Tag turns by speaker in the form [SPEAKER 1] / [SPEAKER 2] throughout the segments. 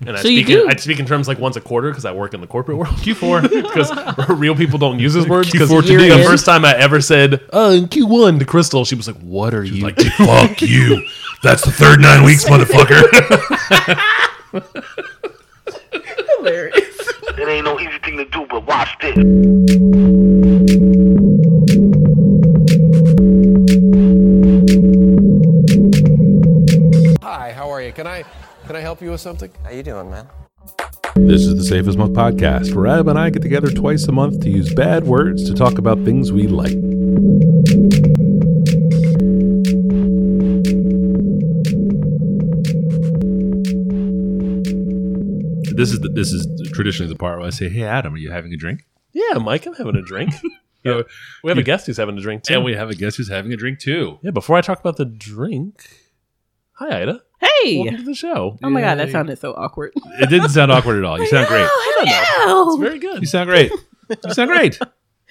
[SPEAKER 1] And I
[SPEAKER 2] So you
[SPEAKER 1] speak
[SPEAKER 2] do.
[SPEAKER 1] In, I speak in terms like once a quarter because I work in the corporate world. Q4 because real people don't use this word. Because
[SPEAKER 2] Q4 today.
[SPEAKER 1] the first time I ever said oh in Q1 to Crystal, she was like, "What are you?"
[SPEAKER 3] Like, fuck you. That's the third nine weeks, motherfucker.
[SPEAKER 4] Hilarious.
[SPEAKER 5] It ain't no easy thing to do, but watch this.
[SPEAKER 6] Hi, how are you? Can I can I help you with something?
[SPEAKER 7] How you doing, man?
[SPEAKER 3] This is the Safest Month podcast, where Ab and I get together twice a month to use bad words to talk about things we like. This is the, this is traditionally the part where I say, "Hey, Adam, are you having a drink?"
[SPEAKER 1] "Yeah, Mike, I'm having a drink." You know, we have a guest who's having a drink too.
[SPEAKER 3] And we have a guest who's having a drink too.
[SPEAKER 1] yeah, before I talk about the drink, hi Ida, welcome
[SPEAKER 4] Hey.
[SPEAKER 1] to the show.
[SPEAKER 4] Oh my god, that sounded so awkward.
[SPEAKER 3] It didn't sound awkward at all. You sound great.
[SPEAKER 1] I don't know. It's very
[SPEAKER 3] You
[SPEAKER 1] good.
[SPEAKER 3] sound great. You sound great.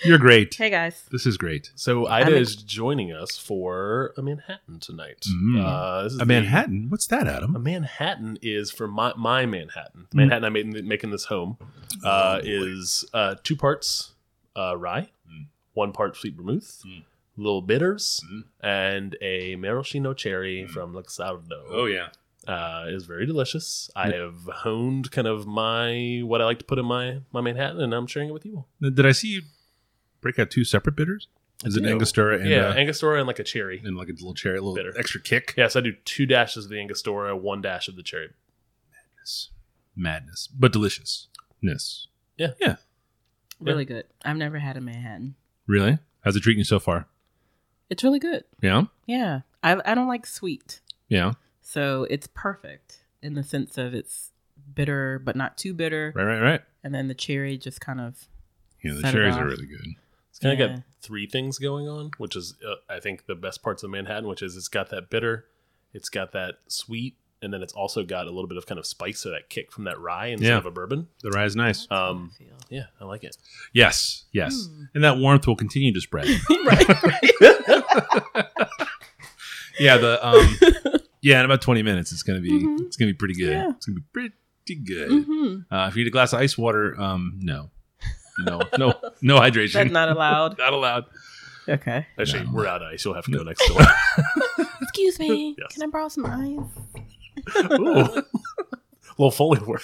[SPEAKER 3] You're great.
[SPEAKER 4] Hey guys.
[SPEAKER 3] This is great.
[SPEAKER 1] So Ida
[SPEAKER 4] I'm
[SPEAKER 1] is joining us for a Manhattan tonight.
[SPEAKER 3] Mm.
[SPEAKER 1] Uh, this is
[SPEAKER 3] A
[SPEAKER 1] the-
[SPEAKER 3] Manhattan? What's that, Adam?
[SPEAKER 1] A Manhattan is for my, my Manhattan.
[SPEAKER 3] Mm-hmm.
[SPEAKER 1] The Manhattan I made making this home
[SPEAKER 3] Oh,
[SPEAKER 1] uh, is uh, two parts uh, rye,
[SPEAKER 3] Mm.
[SPEAKER 1] one part sweet vermouth, little bitters, and a maraschino cherry from Luxardo.
[SPEAKER 3] Mm. Oh, yeah.
[SPEAKER 1] uh, is very delicious. I have honed kind of my what I like to put in my my Manhattan, and I'm sharing it with you all.
[SPEAKER 3] Now, Did I see you break out two separate bitters? Is it
[SPEAKER 1] do.
[SPEAKER 3] Angostura and,
[SPEAKER 1] yeah,
[SPEAKER 3] uh,
[SPEAKER 1] Angostura and like a cherry.
[SPEAKER 3] and like a little cherry, a little
[SPEAKER 1] Bitter.
[SPEAKER 3] extra kick?
[SPEAKER 1] Yeah, so I do two dashes of the Angostura, one dash of the cherry.
[SPEAKER 3] Madness. Madness, but deliciousness.
[SPEAKER 1] Yeah.
[SPEAKER 3] Yeah.
[SPEAKER 4] Really good. I've never had a Manhattan.
[SPEAKER 3] Really? How's it treating you so far?
[SPEAKER 4] It's really good.
[SPEAKER 3] Yeah.
[SPEAKER 4] Yeah. I I don't like sweet.
[SPEAKER 3] Yeah.
[SPEAKER 4] So it's perfect in the sense of it's bitter but not too bitter.
[SPEAKER 3] Right, right, right.
[SPEAKER 4] And then the cherry just kind of
[SPEAKER 3] Yeah, the
[SPEAKER 4] Set it
[SPEAKER 3] cherries
[SPEAKER 4] off.
[SPEAKER 3] are really good.
[SPEAKER 1] It's kind of
[SPEAKER 4] Yeah.
[SPEAKER 1] got three things going on, which is uh, I think the best parts of Manhattan, which is it's got that bitter, it's got that sweet, and then it's also got a little bit of kind of spice, so that kick from that rye instead
[SPEAKER 3] Yeah.
[SPEAKER 1] of a bourbon.
[SPEAKER 3] The rye is nice.
[SPEAKER 1] Um, yeah, I like it.
[SPEAKER 3] Yes, yes. And that warmth will continue to spread. yeah, the um yeah, in about 20 minutes it's going to be
[SPEAKER 4] Mhm.
[SPEAKER 3] it's going to be pretty good.
[SPEAKER 4] Yeah.
[SPEAKER 3] It's going to be pretty good.
[SPEAKER 4] Mhm.
[SPEAKER 3] Uh, if you need a glass of ice water, um no. No. No. No hydration.
[SPEAKER 4] that's not allowed.
[SPEAKER 3] Not allowed.
[SPEAKER 4] Okay.
[SPEAKER 1] Actually,
[SPEAKER 3] No.
[SPEAKER 1] we're out of ice. You'll have to go next door.
[SPEAKER 4] Excuse me.
[SPEAKER 1] Yes.
[SPEAKER 4] Can I borrow some ice?
[SPEAKER 1] Ooh. little Foley work.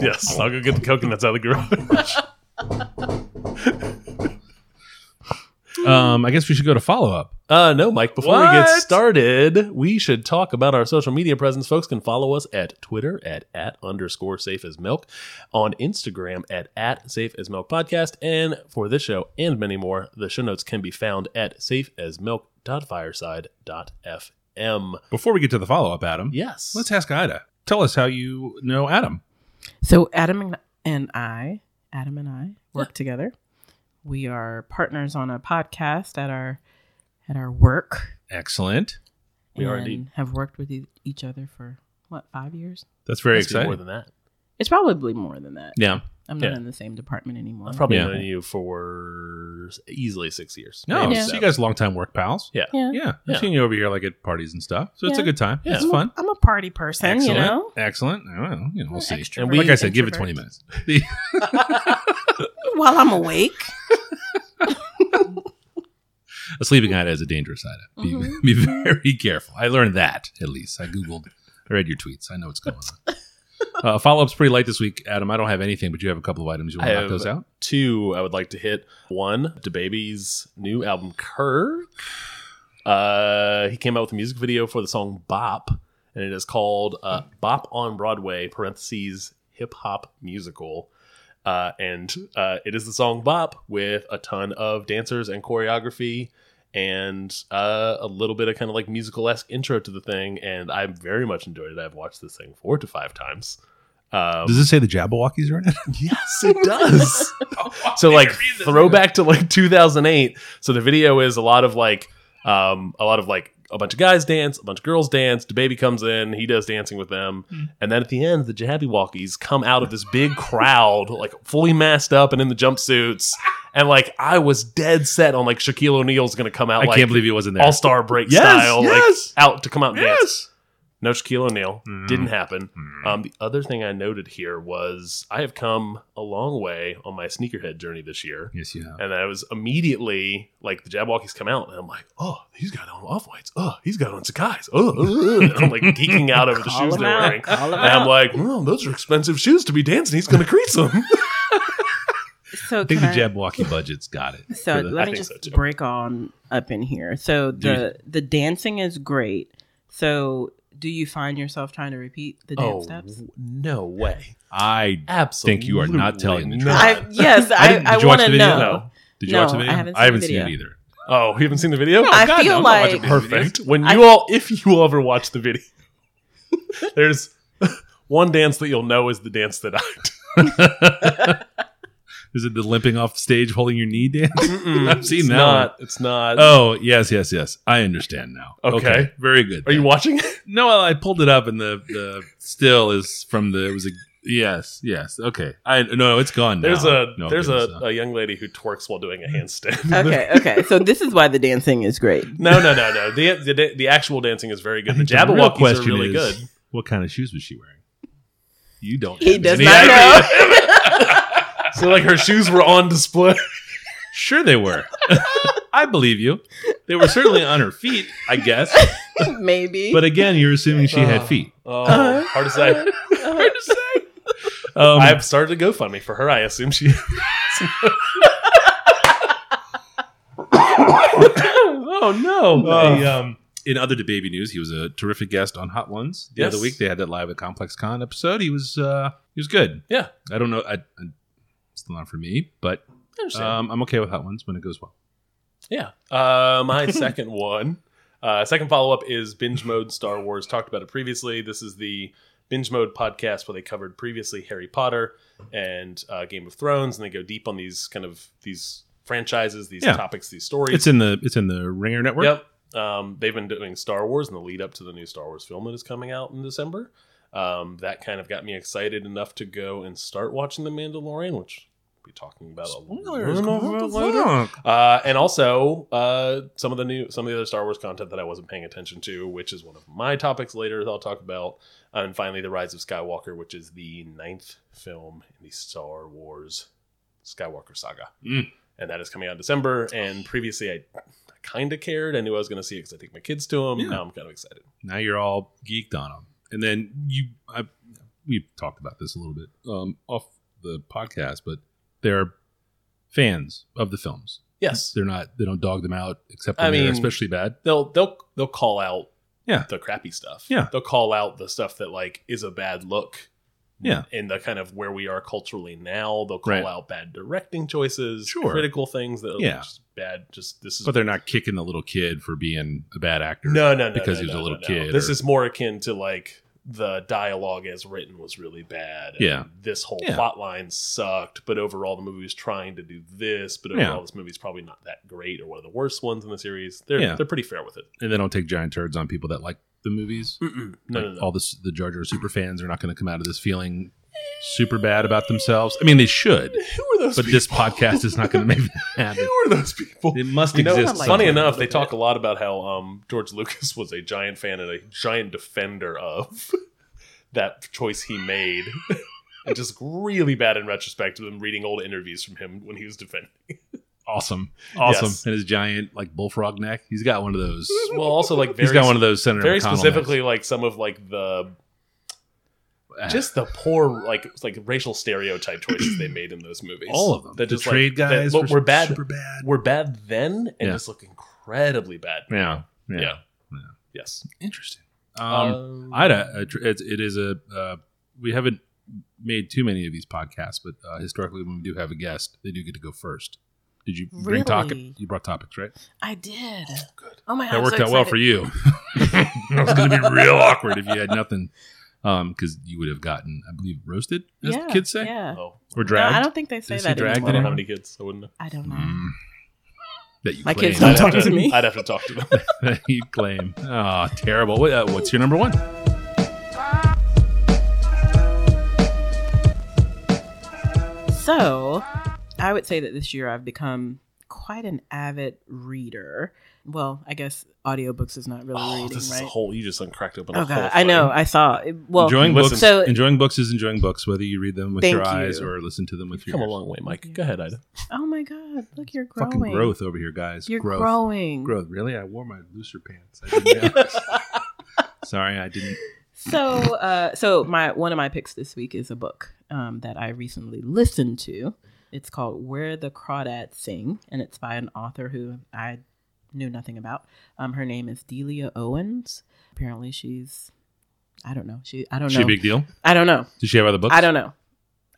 [SPEAKER 1] yes, I'll go get the coconuts out of the garage.
[SPEAKER 3] Um I guess we should go to follow up.
[SPEAKER 1] Uh, no, Mike, before we get
[SPEAKER 3] What?
[SPEAKER 1] started, we should talk about our social media presence. Folks can follow us at Twitter at, at underscore safe as milk, on Instagram at, at safe as milk podcast, and for this show and many more, the show notes can be found at safe as milk.fireside.fm.
[SPEAKER 3] Before we get to the follow up, Adam.
[SPEAKER 1] Yes.
[SPEAKER 3] Let's ask Ida. Tell us how you know Adam.
[SPEAKER 4] So Adam and- and I, Adam and I work together. We are partners on a podcast at our at our work.
[SPEAKER 3] Excellent.
[SPEAKER 1] We are
[SPEAKER 4] and
[SPEAKER 1] indeed.
[SPEAKER 4] have worked with e- each other for what five years.
[SPEAKER 3] That's very
[SPEAKER 1] Must be More
[SPEAKER 3] exciting.
[SPEAKER 1] than that.
[SPEAKER 4] It's probably more than that.
[SPEAKER 3] Yeah.
[SPEAKER 4] I'm not
[SPEAKER 1] Yeah.
[SPEAKER 4] in the same department anymore.
[SPEAKER 1] I've probably
[SPEAKER 3] Yeah.
[SPEAKER 1] known you for easily six years.
[SPEAKER 3] No,
[SPEAKER 1] Maybe
[SPEAKER 4] Yeah.
[SPEAKER 3] so you
[SPEAKER 1] seven.
[SPEAKER 3] guys longtime work pals.
[SPEAKER 1] Yeah.
[SPEAKER 4] Yeah.
[SPEAKER 3] Yeah. I've
[SPEAKER 1] Yeah.
[SPEAKER 3] seen you over here like at parties and stuff. So it's a
[SPEAKER 4] Yeah.
[SPEAKER 3] good time.
[SPEAKER 1] Yeah.
[SPEAKER 3] It's fun.
[SPEAKER 4] I'm a party person,
[SPEAKER 3] Excellent.
[SPEAKER 4] you know.
[SPEAKER 3] Excellent. Well, you know, we'll see.
[SPEAKER 4] Extrovert,
[SPEAKER 1] And we-
[SPEAKER 3] like I said, give it
[SPEAKER 4] introvert.
[SPEAKER 3] 20 minutes.
[SPEAKER 4] While I'm awake,
[SPEAKER 3] a sleeping Ida is a dangerous Ida. Be,
[SPEAKER 4] Mhm.
[SPEAKER 3] be very careful. I learned that, at least. I Googled, I read your tweets. I know what's going on. Uh, follow up's pretty light this week, Adam. I don't have anything, but you have a couple of items. You want
[SPEAKER 1] I
[SPEAKER 3] to knock
[SPEAKER 1] have-
[SPEAKER 3] those out?
[SPEAKER 1] two I would like to hit. One, DeBaby's new album Kirk. Uh, he came out with a music video for the song Bop, and it is called uh, Bop on Broadway (parentheses hip hop musical). Uh, and uh, it is the song Bop with a ton of dancers and choreography and uh, a little bit of kind of like musical esque intro to the thing. And I very much enjoyed it. I've watched this thing four to five times. Um,
[SPEAKER 3] Does this say the Jabberwockies are in it?
[SPEAKER 1] Yes, it does. so like throwback to like 2008. So the video is a lot of like um a lot of like a bunch of guys dance, a bunch of girls dance. The baby comes in, he does dancing with them, and then at the end, the Jabberwockies come out of this big crowd, like fully masked up and in the jumpsuits. And like I was dead set on like Shaquille O'Neal's gonna come out
[SPEAKER 3] I
[SPEAKER 1] like
[SPEAKER 3] can't believe he wasn't there.
[SPEAKER 1] all star break
[SPEAKER 3] Yes,
[SPEAKER 1] style,
[SPEAKER 3] yes.
[SPEAKER 1] like out to come out and dance. No Shaquille O'Neal. Didn't happen.
[SPEAKER 3] Hmm.
[SPEAKER 1] Um, the other thing I noted here was I have come a long way on my sneakerhead journey this year.
[SPEAKER 3] Yes, you have.
[SPEAKER 1] And I was immediately like the Jabwalkies come out, and I'm like, oh, he's got on off whites. Oh, he's got on Sakai's. Oh, oh, oh." And I'm like geeking out over the shoes
[SPEAKER 4] him
[SPEAKER 1] they're
[SPEAKER 4] out.
[SPEAKER 1] wearing. And I'm like, oh, those are expensive shoes to be dancing. He's going to crease them.
[SPEAKER 4] So
[SPEAKER 3] I think
[SPEAKER 4] can
[SPEAKER 3] the Jabwalkie budget's got it.
[SPEAKER 4] So
[SPEAKER 3] For the-
[SPEAKER 1] I
[SPEAKER 4] let me
[SPEAKER 1] think
[SPEAKER 4] just
[SPEAKER 1] so, too.
[SPEAKER 4] break on up in here. So the the dancing is great. So do you find yourself trying to repeat the
[SPEAKER 3] Oh,
[SPEAKER 4] dance steps?
[SPEAKER 1] no way.
[SPEAKER 3] I
[SPEAKER 1] Absolutely.
[SPEAKER 3] Think you are not telling the truth.
[SPEAKER 4] I, yes,
[SPEAKER 3] I
[SPEAKER 4] I,
[SPEAKER 3] didn't-
[SPEAKER 4] I,
[SPEAKER 3] did you watch
[SPEAKER 4] want to
[SPEAKER 3] the video?
[SPEAKER 4] know.
[SPEAKER 1] No.
[SPEAKER 3] did you
[SPEAKER 4] No,
[SPEAKER 3] watch the video?
[SPEAKER 4] I haven't seen the
[SPEAKER 3] it
[SPEAKER 4] video.
[SPEAKER 3] either.
[SPEAKER 1] Oh, you haven't seen the video?
[SPEAKER 4] I feel
[SPEAKER 3] I'm not watching
[SPEAKER 4] like
[SPEAKER 3] the
[SPEAKER 1] Perfect.
[SPEAKER 3] videos.
[SPEAKER 1] When
[SPEAKER 4] I-
[SPEAKER 1] you all, if you ever watch the video, there's one dance that you'll know is the dance that I do.
[SPEAKER 3] Is it the limping off stage, holding your knee dance? I've seen
[SPEAKER 1] it's
[SPEAKER 3] that.
[SPEAKER 1] Not, it's not.
[SPEAKER 3] Oh yes, yes, yes. I understand now.
[SPEAKER 1] Okay.
[SPEAKER 3] very good.
[SPEAKER 1] are you watching it?
[SPEAKER 3] No, I pulled it up, and the the still is from the. It was a yes, yes. Okay, I no, it's gone. Now.
[SPEAKER 1] There's a
[SPEAKER 3] No,
[SPEAKER 1] there's
[SPEAKER 3] goodness,
[SPEAKER 1] a,
[SPEAKER 3] no.
[SPEAKER 1] a young lady who twerks while doing a handstand.
[SPEAKER 4] Okay, okay. So this is why the dancing is great.
[SPEAKER 1] No, no, no, no. The, the da- the actual dancing is very
[SPEAKER 3] I
[SPEAKER 1] good. The
[SPEAKER 3] think the real
[SPEAKER 1] Jabberwockies are
[SPEAKER 3] question
[SPEAKER 1] really
[SPEAKER 3] is,
[SPEAKER 1] good.
[SPEAKER 3] What kind of shoes was she wearing? You don't.
[SPEAKER 4] He
[SPEAKER 3] have
[SPEAKER 4] does
[SPEAKER 3] any
[SPEAKER 4] not
[SPEAKER 3] idea.
[SPEAKER 4] know.
[SPEAKER 1] So like her shoes were on display.
[SPEAKER 3] Sure, they were. I believe you. They were certainly on her feet, I guess.
[SPEAKER 4] Maybe.
[SPEAKER 3] But again, you're assuming she had
[SPEAKER 1] Oh.
[SPEAKER 3] feet.
[SPEAKER 1] Oh,
[SPEAKER 4] Uh-huh.
[SPEAKER 1] hard to say.
[SPEAKER 4] Uh,
[SPEAKER 3] Um,
[SPEAKER 1] I've started a GoFundMe for her. I assume she.
[SPEAKER 3] oh no!
[SPEAKER 1] Ugh.
[SPEAKER 3] um, in other DeBaby news, he was a terrific guest on Hot Ones the
[SPEAKER 1] Yes.
[SPEAKER 3] other week. They had that live at Complex Con episode. He was uh, he was good.
[SPEAKER 1] Yeah.
[SPEAKER 3] I don't know. I, I, it's not for me, but um, I'm okay with Hot Ones when it goes well.
[SPEAKER 1] Yeah. Uh, my second one, uh, second follow up is Binge Mode Star Wars. Talked about it previously. This is the Binge Mode podcast where they covered previously Harry Potter and uh, Game of Thrones, and they go deep on these kind of these franchises, these
[SPEAKER 3] Yeah.
[SPEAKER 1] topics, these stories.
[SPEAKER 3] It's in the it's in the Ringer network.
[SPEAKER 1] Yep. Um, they've been doing Star Wars in the lead up to the new Star Wars film that is coming out in December. Um, that kind of got me excited enough to go and start watching The Mandalorian, which we'll be talking about a little bit later. Uh, and also uh, some of the new some of the other Star Wars content that I wasn't paying attention to, which is one of my topics later that I'll talk about. Uh, And finally, The Rise of Skywalker, which is the ninth film in the Star Wars Skywalker saga,
[SPEAKER 3] Mm.
[SPEAKER 1] and that is coming out in December. And previously, I kind of cared. I knew I was going to see it because I take my kids to them.
[SPEAKER 3] Yeah.
[SPEAKER 1] Now I'm kind of excited.
[SPEAKER 3] Now you're all geeked on them, and then you I, we've talked about this a little bit um, off the podcast, but they're fans of the films.
[SPEAKER 1] Yes,
[SPEAKER 3] They're not they don't dog them out except
[SPEAKER 1] I
[SPEAKER 3] when they're
[SPEAKER 1] mean-
[SPEAKER 3] especially bad.
[SPEAKER 1] they'll they'll they'll call out
[SPEAKER 3] Yeah.
[SPEAKER 1] the crappy stuff.
[SPEAKER 3] Yeah.
[SPEAKER 1] they'll call out the stuff that like is a bad look.
[SPEAKER 3] Yeah.
[SPEAKER 1] in the kind of where we are culturally now, they'll call
[SPEAKER 3] Right.
[SPEAKER 1] out bad directing choices,
[SPEAKER 3] Sure.
[SPEAKER 1] critical things that
[SPEAKER 3] Yeah.
[SPEAKER 1] yeah, just bad. Just this is
[SPEAKER 3] But they're not kicking the little kid for being a bad actor.
[SPEAKER 1] no no no
[SPEAKER 3] because
[SPEAKER 1] no,
[SPEAKER 3] he was
[SPEAKER 1] no,
[SPEAKER 3] a little
[SPEAKER 1] no, no.
[SPEAKER 3] kid
[SPEAKER 1] This
[SPEAKER 3] or-
[SPEAKER 1] is more akin to like the dialogue as written was really bad. and
[SPEAKER 3] Yeah.
[SPEAKER 1] this whole
[SPEAKER 3] Yeah.
[SPEAKER 1] plot line sucked, but overall the movie was trying to do this, but
[SPEAKER 3] Yeah.
[SPEAKER 1] overall this movie's probably not that great or one of the worst ones in the series. They're
[SPEAKER 3] Yeah.
[SPEAKER 1] they're pretty fair with it.
[SPEAKER 3] and they don't take giant turds on people that like the movies.
[SPEAKER 1] Mm-mm. No,
[SPEAKER 3] like
[SPEAKER 1] no, no.
[SPEAKER 3] all this, the Jar Jar super fans are not going to come out of this feeling super bad about themselves. I mean, they should,
[SPEAKER 1] Who are those?
[SPEAKER 3] but this
[SPEAKER 1] people?
[SPEAKER 3] podcast is not going to make that happen.
[SPEAKER 1] Who are those people?
[SPEAKER 3] It must
[SPEAKER 1] You know,
[SPEAKER 3] exist.
[SPEAKER 4] like
[SPEAKER 3] somewhere.
[SPEAKER 1] funny enough, they talk a lot about how um, George Lucas was a giant fan and a giant defender of that choice he made. and just really bad in retrospect of them reading old interviews from him when he was defending.
[SPEAKER 3] awesome, awesome,
[SPEAKER 1] Yes.
[SPEAKER 3] and his giant like bullfrog neck. He's got one of those.
[SPEAKER 1] Well, also like very,
[SPEAKER 3] he's got one of those Senator
[SPEAKER 1] very
[SPEAKER 3] McConnell necks.
[SPEAKER 1] specifically like some of like the
[SPEAKER 3] Ah,
[SPEAKER 1] just the poor like like racial stereotype choices they made in those movies.
[SPEAKER 3] all of them.
[SPEAKER 1] That
[SPEAKER 3] the
[SPEAKER 1] just
[SPEAKER 3] trade
[SPEAKER 1] like,
[SPEAKER 3] guys
[SPEAKER 1] that, look,
[SPEAKER 3] were
[SPEAKER 1] were bad.
[SPEAKER 3] super bad.
[SPEAKER 1] Were bad then and
[SPEAKER 3] Yeah.
[SPEAKER 1] just look incredibly bad.
[SPEAKER 3] Yeah, yeah,
[SPEAKER 1] Yeah. Yes.
[SPEAKER 3] interesting. Um,
[SPEAKER 1] Um,
[SPEAKER 3] I had a, a tr- it's, it is a uh, we haven't made too many of these podcasts, but uh, historically when we do have a guest, they do get to go first. Did you bring
[SPEAKER 4] Really?
[SPEAKER 3] topic? You brought topics, right?
[SPEAKER 4] I did. Oh my god,
[SPEAKER 3] that
[SPEAKER 4] I'm
[SPEAKER 3] worked
[SPEAKER 4] so
[SPEAKER 3] out well for
[SPEAKER 4] excited.
[SPEAKER 3] you. it was going to be real awkward if you had nothing, because you would have gotten, I believe, roasted. As
[SPEAKER 4] Yeah,
[SPEAKER 3] the kids say,
[SPEAKER 4] Yeah.
[SPEAKER 1] oh,
[SPEAKER 4] No, I
[SPEAKER 3] or dragged.
[SPEAKER 4] don't think they say
[SPEAKER 3] Is he
[SPEAKER 4] that.
[SPEAKER 3] dragged
[SPEAKER 1] I don't
[SPEAKER 4] anymore.
[SPEAKER 1] have any kids. I wouldn't know.
[SPEAKER 4] I don't know.
[SPEAKER 3] Mm. That you
[SPEAKER 4] My
[SPEAKER 3] claim.
[SPEAKER 4] kids Don't
[SPEAKER 1] I'd have
[SPEAKER 4] talk to me.
[SPEAKER 1] I'd have to talk to them.
[SPEAKER 3] that you claim. Oh, terrible. What, uh, what's your number one?
[SPEAKER 4] So, I would say that this year I've become quite an avid reader. Well, I guess audiobooks is not really
[SPEAKER 1] Oh,
[SPEAKER 4] reading,
[SPEAKER 1] this is
[SPEAKER 4] right?
[SPEAKER 1] a whole. You just uncracked open. a
[SPEAKER 4] oh
[SPEAKER 1] whole
[SPEAKER 4] god, I know.
[SPEAKER 1] thing.
[SPEAKER 4] I saw. Well,
[SPEAKER 3] enjoying
[SPEAKER 1] listen.
[SPEAKER 3] books,
[SPEAKER 4] so-
[SPEAKER 3] enjoying books is enjoying books, whether you read them with
[SPEAKER 4] Thank
[SPEAKER 3] your eyes
[SPEAKER 4] you.
[SPEAKER 3] or listen to them with your
[SPEAKER 1] Come a
[SPEAKER 3] ears.
[SPEAKER 1] long way, Mike. Go ahead, Ida.
[SPEAKER 4] oh my god, look, you're growing.
[SPEAKER 3] Fucking growth over here, guys.
[SPEAKER 4] You're
[SPEAKER 3] growth.
[SPEAKER 4] growing.
[SPEAKER 3] Growth. Really? I wore my looser pants. I didn't realize. Sorry, I didn't.
[SPEAKER 4] So, uh, so my one of my picks this week is a book um, that I recently listened to. It's called "Where the Crawdads Sing," and it's by an author who I knew nothing about. Um, her name is Delia Owens. Apparently, she's I don't know. She I don't
[SPEAKER 3] She a
[SPEAKER 4] know.
[SPEAKER 3] big deal?
[SPEAKER 4] I don't know.
[SPEAKER 3] Did she have other books?
[SPEAKER 4] Oh, I don't know.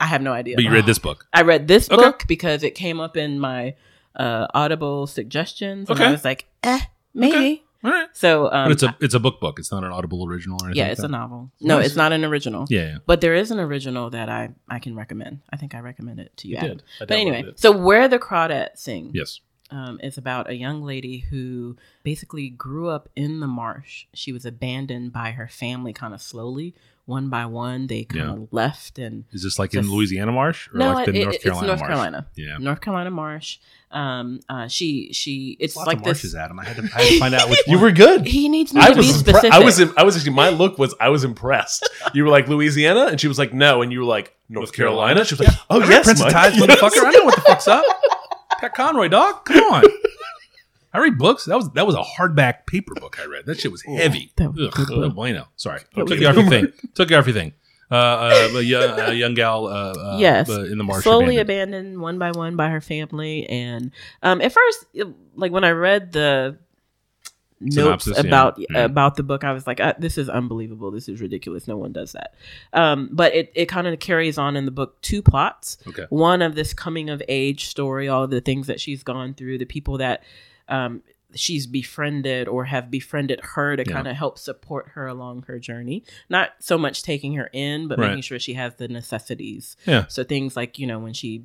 [SPEAKER 4] I have no idea.
[SPEAKER 3] But you read this book.
[SPEAKER 4] I read this
[SPEAKER 3] Okay.
[SPEAKER 4] book because it came up in my uh, Audible suggestions, and I
[SPEAKER 3] Okay.
[SPEAKER 4] was like, eh, maybe.
[SPEAKER 3] All right.
[SPEAKER 4] So, um,
[SPEAKER 3] but it's a it's a book book. It's not an Audible original or anything.
[SPEAKER 4] yeah, it's a
[SPEAKER 3] like
[SPEAKER 4] novel. No,
[SPEAKER 3] Nice.
[SPEAKER 4] it's not an original.
[SPEAKER 3] that? Yeah, yeah.
[SPEAKER 4] But there is an original that I, I can recommend. I think I recommend it to you.
[SPEAKER 1] You
[SPEAKER 4] Adam.
[SPEAKER 1] did. I
[SPEAKER 4] But anyway,
[SPEAKER 1] downloaded it.
[SPEAKER 4] so where the crawdads sing
[SPEAKER 3] Yes.
[SPEAKER 4] um, is about a young lady who basically grew up in the marsh. She was abandoned by her family, kind of slowly, one by one. They kind of left and
[SPEAKER 3] Is this like in
[SPEAKER 4] Just-
[SPEAKER 3] Louisiana Marsh or like the
[SPEAKER 4] it-
[SPEAKER 3] North
[SPEAKER 4] it's
[SPEAKER 3] Carolina
[SPEAKER 4] North
[SPEAKER 3] Marsh?
[SPEAKER 4] Carolina,
[SPEAKER 3] Yeah.
[SPEAKER 4] North Carolina marsh. Um, uh, she she it's
[SPEAKER 3] Lots
[SPEAKER 4] like
[SPEAKER 3] of
[SPEAKER 4] this.
[SPEAKER 3] marshes, Adam. I had to, I had to find out which
[SPEAKER 1] you
[SPEAKER 3] one.
[SPEAKER 1] were good.
[SPEAKER 4] He needs me
[SPEAKER 1] I
[SPEAKER 4] to be
[SPEAKER 1] was, impre-
[SPEAKER 4] specific.
[SPEAKER 1] I was, im- I was actually, my look was, I was impressed. You were like Louisiana, and she was like, no, and you were like North
[SPEAKER 3] North
[SPEAKER 1] Carolina.
[SPEAKER 3] Carolina?
[SPEAKER 1] She was like, oh yes,
[SPEAKER 3] Prince of
[SPEAKER 1] Mike."
[SPEAKER 3] Tides, motherfucker. I know what the fuck's up. Pat Conroy, dog. Come on. I read books. That was that was a hardback paper book I read. That shit was heavy.
[SPEAKER 4] That
[SPEAKER 3] Ugh,
[SPEAKER 4] was good
[SPEAKER 3] no bueno. Sorry,
[SPEAKER 1] That
[SPEAKER 3] took
[SPEAKER 1] was
[SPEAKER 3] you off your
[SPEAKER 1] good.
[SPEAKER 3] thing. Took you off your thing. Uh, uh, a, young, a young gal. Uh, uh,
[SPEAKER 4] Yes.
[SPEAKER 3] uh, in the marsh.
[SPEAKER 4] slowly
[SPEAKER 3] abandoned.
[SPEAKER 4] abandoned. one by one by her family and um at first it- like when i read the notes
[SPEAKER 3] Synopsis, yeah.
[SPEAKER 4] about
[SPEAKER 3] Mhm.
[SPEAKER 4] about the book i was like uh, this is unbelievable this is ridiculous no one does that um but it, it kind of carries on in the book two plots
[SPEAKER 3] Okay.
[SPEAKER 4] one of this coming of age story all the things that she's gone through the people that um she's befriended or have befriended her to
[SPEAKER 3] Yeah.
[SPEAKER 4] kind of help support her along her journey not so much taking her in but
[SPEAKER 3] Right.
[SPEAKER 4] making sure she has the necessities
[SPEAKER 3] Yeah.
[SPEAKER 4] so things like you know when she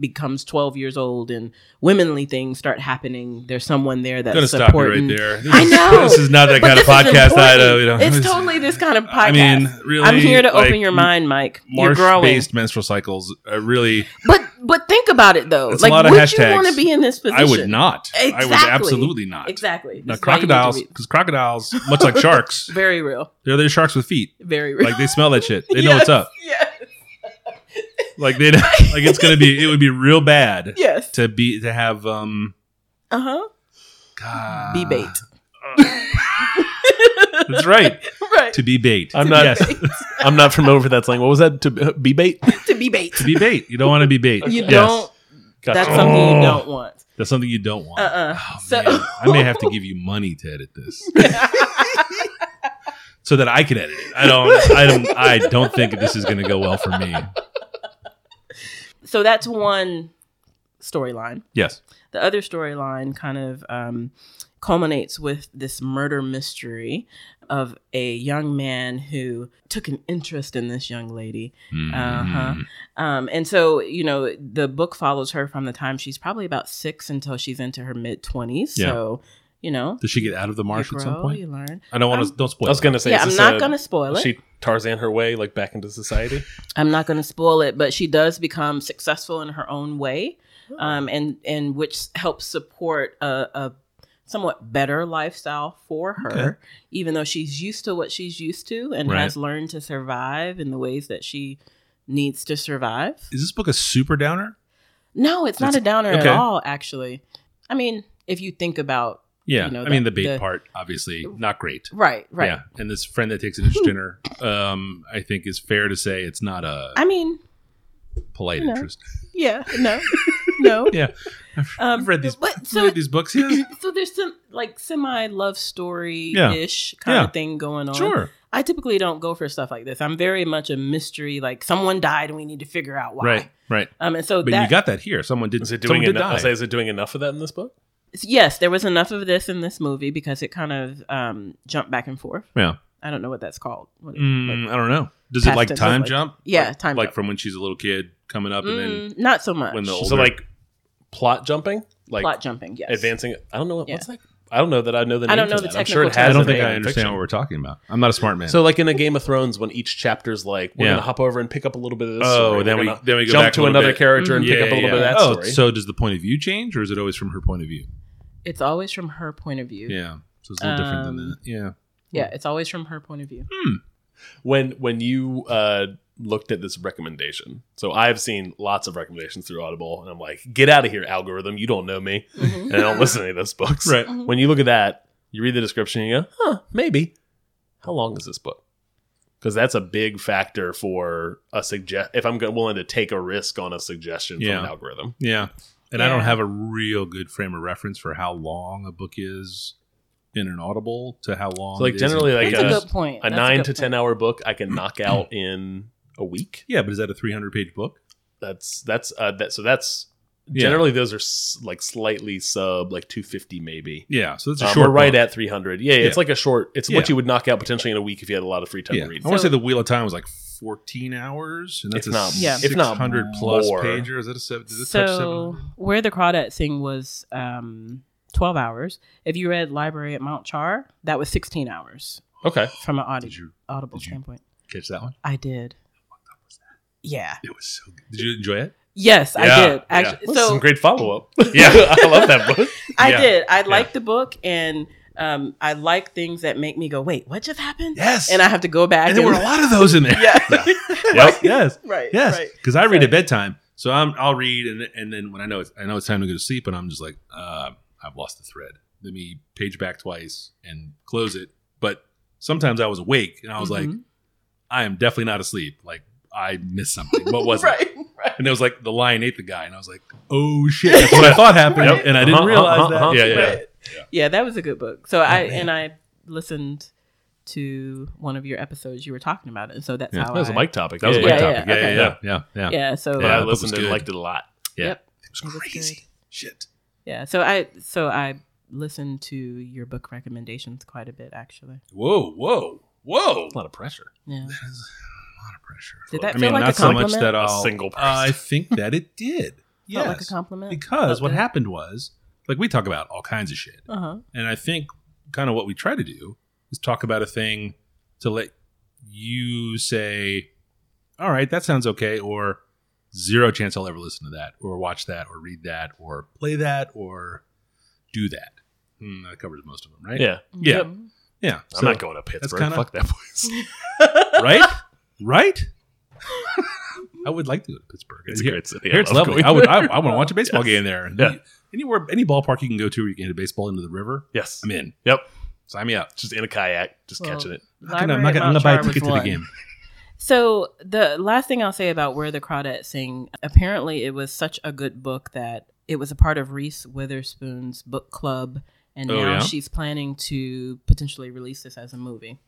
[SPEAKER 4] becomes 12 years old and womanly things start happening there's someone there that's
[SPEAKER 3] Gonna stop you right
[SPEAKER 4] supporting
[SPEAKER 3] there. This
[SPEAKER 4] I
[SPEAKER 3] is-
[SPEAKER 4] know.
[SPEAKER 3] This is not that
[SPEAKER 4] But
[SPEAKER 3] kind of
[SPEAKER 4] this is
[SPEAKER 3] podcast,
[SPEAKER 4] important.
[SPEAKER 3] Ida. You know,
[SPEAKER 4] it's totally this kind of podcast
[SPEAKER 3] I mean, really.
[SPEAKER 4] i'm here to
[SPEAKER 3] like,
[SPEAKER 4] open your mind mike you're growing
[SPEAKER 3] Marsh-based menstrual cycles. Uh, really,
[SPEAKER 4] but but think about it though
[SPEAKER 3] It's a
[SPEAKER 4] like
[SPEAKER 3] lot of
[SPEAKER 4] would you
[SPEAKER 3] hashtags.
[SPEAKER 4] want to be in this position
[SPEAKER 3] I would not. I would
[SPEAKER 4] Exactly.
[SPEAKER 3] absolutely not.
[SPEAKER 4] exactly
[SPEAKER 3] Now,
[SPEAKER 4] This is why you need to
[SPEAKER 3] crocodiles,
[SPEAKER 4] read.
[SPEAKER 3] because crocodiles, much like sharks,
[SPEAKER 4] very real
[SPEAKER 3] they're they're sharks with feet.
[SPEAKER 4] very real
[SPEAKER 3] Like they smell that shit. They know
[SPEAKER 4] Yes,
[SPEAKER 3] what's up.
[SPEAKER 4] yes
[SPEAKER 3] Like they like it's gonna be. It would be real bad
[SPEAKER 4] yes
[SPEAKER 3] to be to have um.
[SPEAKER 4] uh-huh
[SPEAKER 3] God.
[SPEAKER 4] be bait
[SPEAKER 3] That's right.
[SPEAKER 4] right
[SPEAKER 3] To be bait.
[SPEAKER 1] I'm not-
[SPEAKER 3] Yes.
[SPEAKER 1] I'm not from over that slang. What was that? To uh, be bait?
[SPEAKER 4] to be bait
[SPEAKER 3] to be bait. You don't want to be bait.
[SPEAKER 4] you
[SPEAKER 3] Yes.
[SPEAKER 4] don't
[SPEAKER 1] Gotcha.
[SPEAKER 4] that's something you
[SPEAKER 3] Oh.
[SPEAKER 4] don't want
[SPEAKER 3] That's something you don't want.
[SPEAKER 4] Uh-uh.
[SPEAKER 3] Oh,
[SPEAKER 4] So-
[SPEAKER 3] man. I may have to give you money to edit this so that I can edit it. I don't. I don't. I don't think this is going to go well for me.
[SPEAKER 4] so that's one storyline.
[SPEAKER 3] Yes.
[SPEAKER 4] The other storyline kind of um, culminates with this murder mystery of a young man who took an interest in this young lady. Uh-huh.
[SPEAKER 3] Mhm.
[SPEAKER 4] Um, and so, you know, the book follows her from the time she's probably about six until she's into her mid 20s.
[SPEAKER 3] Yeah.
[SPEAKER 4] So, you know,
[SPEAKER 3] Does she get out of the
[SPEAKER 4] you
[SPEAKER 3] marsh
[SPEAKER 4] grow,
[SPEAKER 3] at some point?
[SPEAKER 4] you learn.
[SPEAKER 3] I don't want to.
[SPEAKER 4] Um,
[SPEAKER 3] Don't spoil.
[SPEAKER 1] I was
[SPEAKER 3] it.
[SPEAKER 1] gonna say,
[SPEAKER 4] yeah,
[SPEAKER 1] is
[SPEAKER 4] I'm
[SPEAKER 1] this
[SPEAKER 4] not
[SPEAKER 1] a-
[SPEAKER 4] going to spoil it.
[SPEAKER 1] She Tarzan her way like back into society.
[SPEAKER 4] I'm not going to spoil it, but she does become successful in her own way, um, and and which helps support a, a somewhat better lifestyle for her, even though she's used to what she's used to and
[SPEAKER 3] Right.
[SPEAKER 4] has learned to survive in the ways that she needs to survive.
[SPEAKER 3] Is this book a super downer?
[SPEAKER 4] No, it's not a downer at
[SPEAKER 3] okay.
[SPEAKER 4] all. Actually, I mean, if you think about
[SPEAKER 3] Yeah,
[SPEAKER 4] You know,
[SPEAKER 3] I mean
[SPEAKER 4] the-
[SPEAKER 3] the bait
[SPEAKER 4] the-
[SPEAKER 3] part, obviously not great.
[SPEAKER 4] right, right.
[SPEAKER 3] Yeah, and this friend that takes an interest in her, um, I think is fair to say it's not a
[SPEAKER 4] I mean,
[SPEAKER 3] polite
[SPEAKER 4] you know.
[SPEAKER 3] interest.
[SPEAKER 4] yeah, no, no.
[SPEAKER 3] Yeah,
[SPEAKER 4] Um,
[SPEAKER 3] I've read these.
[SPEAKER 4] but
[SPEAKER 3] I've read these books. Yes,
[SPEAKER 4] so there's some like semi love story ish kind
[SPEAKER 3] Yeah.
[SPEAKER 4] of thing going on.
[SPEAKER 3] sure.
[SPEAKER 4] I typically don't go for stuff like this. I'm very much a mystery, like someone died and we need to figure out why.
[SPEAKER 3] Right, right.
[SPEAKER 4] Um, and so
[SPEAKER 3] But
[SPEAKER 4] that
[SPEAKER 3] you got that here. Someone did.
[SPEAKER 1] Is it
[SPEAKER 3] someone
[SPEAKER 1] doing
[SPEAKER 3] did
[SPEAKER 1] enough?
[SPEAKER 3] die.
[SPEAKER 1] I say, is it doing enough of that in this book?
[SPEAKER 4] yes, there was enough of this in this movie because it kind of um jumped back and forth.
[SPEAKER 3] Yeah.
[SPEAKER 4] I don't know what that's called. What-
[SPEAKER 3] Mm,
[SPEAKER 4] like-
[SPEAKER 3] I don't know. Does it
[SPEAKER 4] past
[SPEAKER 3] like
[SPEAKER 4] tense,
[SPEAKER 3] time
[SPEAKER 4] like-
[SPEAKER 3] jump?
[SPEAKER 4] yeah,
[SPEAKER 3] Like-
[SPEAKER 4] time
[SPEAKER 3] Like
[SPEAKER 4] jump.
[SPEAKER 3] from when she's a little kid coming up, and then
[SPEAKER 4] Mm, not so much.
[SPEAKER 3] when the
[SPEAKER 1] So
[SPEAKER 3] older-
[SPEAKER 1] like plot jumping, like
[SPEAKER 4] plot jumping, yes.
[SPEAKER 1] advancing. I don't know what, what's that I don't know that I know the.
[SPEAKER 4] I
[SPEAKER 1] name
[SPEAKER 4] don't
[SPEAKER 1] for
[SPEAKER 4] know the
[SPEAKER 1] that. I'm sure it
[SPEAKER 4] technical
[SPEAKER 1] has
[SPEAKER 3] I
[SPEAKER 4] term.
[SPEAKER 1] a
[SPEAKER 3] don't think
[SPEAKER 1] name
[SPEAKER 3] I
[SPEAKER 1] in
[SPEAKER 3] understand
[SPEAKER 1] fiction.
[SPEAKER 3] what we're talking about. I'm not a smart man.
[SPEAKER 1] So, like in a Game of Thrones, when each chapter's like, we're
[SPEAKER 3] Yeah.
[SPEAKER 1] gonna hop over and pick up a little bit of this.
[SPEAKER 3] Oh,
[SPEAKER 1] story.
[SPEAKER 3] then
[SPEAKER 1] We're
[SPEAKER 3] we-
[SPEAKER 1] gonna
[SPEAKER 3] then we go
[SPEAKER 1] jump
[SPEAKER 3] back a
[SPEAKER 1] to
[SPEAKER 3] little
[SPEAKER 1] another
[SPEAKER 3] bit.
[SPEAKER 1] character and
[SPEAKER 3] Yeah,
[SPEAKER 1] pick up a little
[SPEAKER 3] yeah.
[SPEAKER 1] bit of that
[SPEAKER 3] oh,
[SPEAKER 1] story.
[SPEAKER 3] so does the point of view change, or is it always from her point of view?
[SPEAKER 4] It's always from her point of view.
[SPEAKER 3] Yeah, so it's a little different than
[SPEAKER 4] Um,
[SPEAKER 3] that. Yeah,
[SPEAKER 4] Yeah, it's always from her point of view.
[SPEAKER 3] Mm.
[SPEAKER 1] when when you uh, looked at this recommendation, so I've seen lots of recommendations through Audible, and I'm like, get out of here, algorithm! You don't know me,
[SPEAKER 4] Mm-hmm.
[SPEAKER 1] and I don't listen to any of those books.
[SPEAKER 3] Right.
[SPEAKER 4] Mhm.
[SPEAKER 1] When you look at that, you read the description, and you go, huh, maybe. How long is this book? Because that's a big factor for a suggest. If I'm go- willing to take a risk on a suggestion
[SPEAKER 3] Yeah.
[SPEAKER 1] from an algorithm,
[SPEAKER 3] yeah. And I
[SPEAKER 4] Yeah.
[SPEAKER 3] don't have a real good frame of reference for how long a book is in an audible to how long.
[SPEAKER 1] So, like,
[SPEAKER 3] it is in
[SPEAKER 1] generally, like,
[SPEAKER 4] That's
[SPEAKER 3] pages.
[SPEAKER 4] a
[SPEAKER 1] uh,
[SPEAKER 4] good point.
[SPEAKER 1] a nine to ten hour book, I can knock out in a week.
[SPEAKER 3] yeah, but is that a 300 page book?
[SPEAKER 1] that's that's uh that so that's
[SPEAKER 3] Yeah.
[SPEAKER 1] generally those are s- like slightly sub like 250 maybe
[SPEAKER 3] Yeah, so that's a
[SPEAKER 1] um,
[SPEAKER 3] short.
[SPEAKER 1] we're right
[SPEAKER 3] book.
[SPEAKER 1] at 300 yeah, it's
[SPEAKER 3] Yeah.
[SPEAKER 1] like a short it's what
[SPEAKER 3] Yeah.
[SPEAKER 1] you would knock out potentially in a week if you had a lot of free time
[SPEAKER 3] Yeah.
[SPEAKER 1] to read
[SPEAKER 3] I want
[SPEAKER 4] So-
[SPEAKER 3] to say the Wheel of Time was like 14 hours, and that's
[SPEAKER 1] If
[SPEAKER 3] a
[SPEAKER 1] not-
[SPEAKER 4] Yeah.
[SPEAKER 1] if not
[SPEAKER 3] 600 plus
[SPEAKER 1] more.
[SPEAKER 3] pager. Is that a seven? Does it touch
[SPEAKER 4] So
[SPEAKER 3] 700?
[SPEAKER 4] where the crawdad thing was um, twelve hours. If you read Library at Mount Char, that was sixteen hours
[SPEAKER 1] okay
[SPEAKER 4] from an audi-
[SPEAKER 3] Did you
[SPEAKER 4] audible
[SPEAKER 3] did you-
[SPEAKER 4] standpoint.
[SPEAKER 3] catch that one?
[SPEAKER 4] I did. Yeah.
[SPEAKER 3] It was so good. Did you enjoy it?
[SPEAKER 4] Yes, I
[SPEAKER 3] Yeah,
[SPEAKER 4] did. Actually,
[SPEAKER 1] That's
[SPEAKER 4] so
[SPEAKER 1] some great follow-up
[SPEAKER 3] Yeah.
[SPEAKER 1] i love that book
[SPEAKER 4] I
[SPEAKER 3] Yeah.
[SPEAKER 4] did. I like the book, and um, I like things that make me go, "Wait, what just happened?"
[SPEAKER 3] Yes.
[SPEAKER 4] And I have to go back.
[SPEAKER 3] and there were a lot of those in there.
[SPEAKER 4] Yeah.
[SPEAKER 3] Right? Yes.
[SPEAKER 4] right.
[SPEAKER 3] Yes.
[SPEAKER 4] Right.
[SPEAKER 3] Because I read at bedtime, so I'm I'll read, and and then when I know it's I know it's time to go to sleep, and I'm just like, uh, I've lost the thread. Let me page back twice and close it. But sometimes I was awake, and I was like,
[SPEAKER 4] Mhm.
[SPEAKER 3] I am definitely not asleep. Like I missed something. What was it?
[SPEAKER 4] right. Right.
[SPEAKER 3] And it was like the lion ate the guy, and I was like, oh shit, that's what I thought happened,
[SPEAKER 1] Yep.
[SPEAKER 3] and I didn't
[SPEAKER 1] Uh-huh,
[SPEAKER 3] realize
[SPEAKER 1] uh-huh,
[SPEAKER 3] that.
[SPEAKER 1] uh-huh.
[SPEAKER 3] Yeah, yeah, yeah.
[SPEAKER 4] Right. Yeah. that was a good book. So I
[SPEAKER 3] Oh, man.
[SPEAKER 4] and I listened to one of your episodes. You were talking about it, and so that's
[SPEAKER 3] Yeah.
[SPEAKER 4] how
[SPEAKER 1] that was
[SPEAKER 4] I,
[SPEAKER 1] a mic topic
[SPEAKER 3] That was a
[SPEAKER 4] Yeah,
[SPEAKER 3] great
[SPEAKER 4] yeah,
[SPEAKER 3] topic. Yeah,
[SPEAKER 4] okay.
[SPEAKER 3] yeah, yeah, yeah, yeah.
[SPEAKER 4] Yeah, so
[SPEAKER 1] but
[SPEAKER 3] Yeah,
[SPEAKER 1] i
[SPEAKER 3] that book was
[SPEAKER 1] listened and
[SPEAKER 3] good.
[SPEAKER 1] liked it a lot
[SPEAKER 4] Yep.
[SPEAKER 3] It
[SPEAKER 4] It
[SPEAKER 3] was
[SPEAKER 4] was
[SPEAKER 3] crazy. Shit.
[SPEAKER 4] yeah, so I so I listened to your book recommendations quite a bit actually.
[SPEAKER 3] Whoa, whoa, whoa.
[SPEAKER 1] a lot of pressure
[SPEAKER 4] Yeah,
[SPEAKER 3] A lot of pressure.
[SPEAKER 4] did that
[SPEAKER 3] I
[SPEAKER 4] feel
[SPEAKER 3] mean,
[SPEAKER 4] like
[SPEAKER 3] not
[SPEAKER 4] a
[SPEAKER 3] so
[SPEAKER 4] compliment?
[SPEAKER 3] much that I'll,
[SPEAKER 1] single person.
[SPEAKER 3] I think that it did.
[SPEAKER 4] Felt
[SPEAKER 3] yes,
[SPEAKER 4] like a compliment
[SPEAKER 3] because what
[SPEAKER 4] Okay.
[SPEAKER 3] happened was, like, we talk about all kinds of shit,
[SPEAKER 4] Uh huh.
[SPEAKER 3] and I think kind of what we try to do is talk about a thing to let you say, "All right, that sounds okay," or zero chance I'll ever listen to that, or watch that, or read that, or play that, or do that. Hmm, that covers most of them, right?
[SPEAKER 1] yeah
[SPEAKER 3] Yeah. yeah.
[SPEAKER 1] i'm not going to pittsburgh
[SPEAKER 3] kinda-
[SPEAKER 1] fuck that place
[SPEAKER 3] right? Right? I would like to go to Pittsburgh.
[SPEAKER 1] it's a
[SPEAKER 3] Here-
[SPEAKER 1] great city
[SPEAKER 3] Here it's
[SPEAKER 1] love
[SPEAKER 3] lovely.
[SPEAKER 1] going
[SPEAKER 3] I would. I,
[SPEAKER 1] there.
[SPEAKER 3] I want to watch a baseball
[SPEAKER 1] Yes.
[SPEAKER 3] game there.
[SPEAKER 1] Yeah.
[SPEAKER 3] Anywhere, any ballpark you can go to where you can hit a baseball into the river,
[SPEAKER 1] yes
[SPEAKER 3] I'm in.
[SPEAKER 1] Yep.
[SPEAKER 3] Sign me up.
[SPEAKER 1] just in a kayak just
[SPEAKER 4] Well,
[SPEAKER 1] catching it
[SPEAKER 3] I'm not gonna- I'm not gonna, I'm gonna buy a ticket to the game.
[SPEAKER 4] So the last thing I'll say about Where the Crawdads Sing, apparently it was such a good book that it was a part of Reese Witherspoon's book club, and
[SPEAKER 3] Oh,
[SPEAKER 4] now
[SPEAKER 3] yeah?
[SPEAKER 4] she's planning to potentially release this as a movie.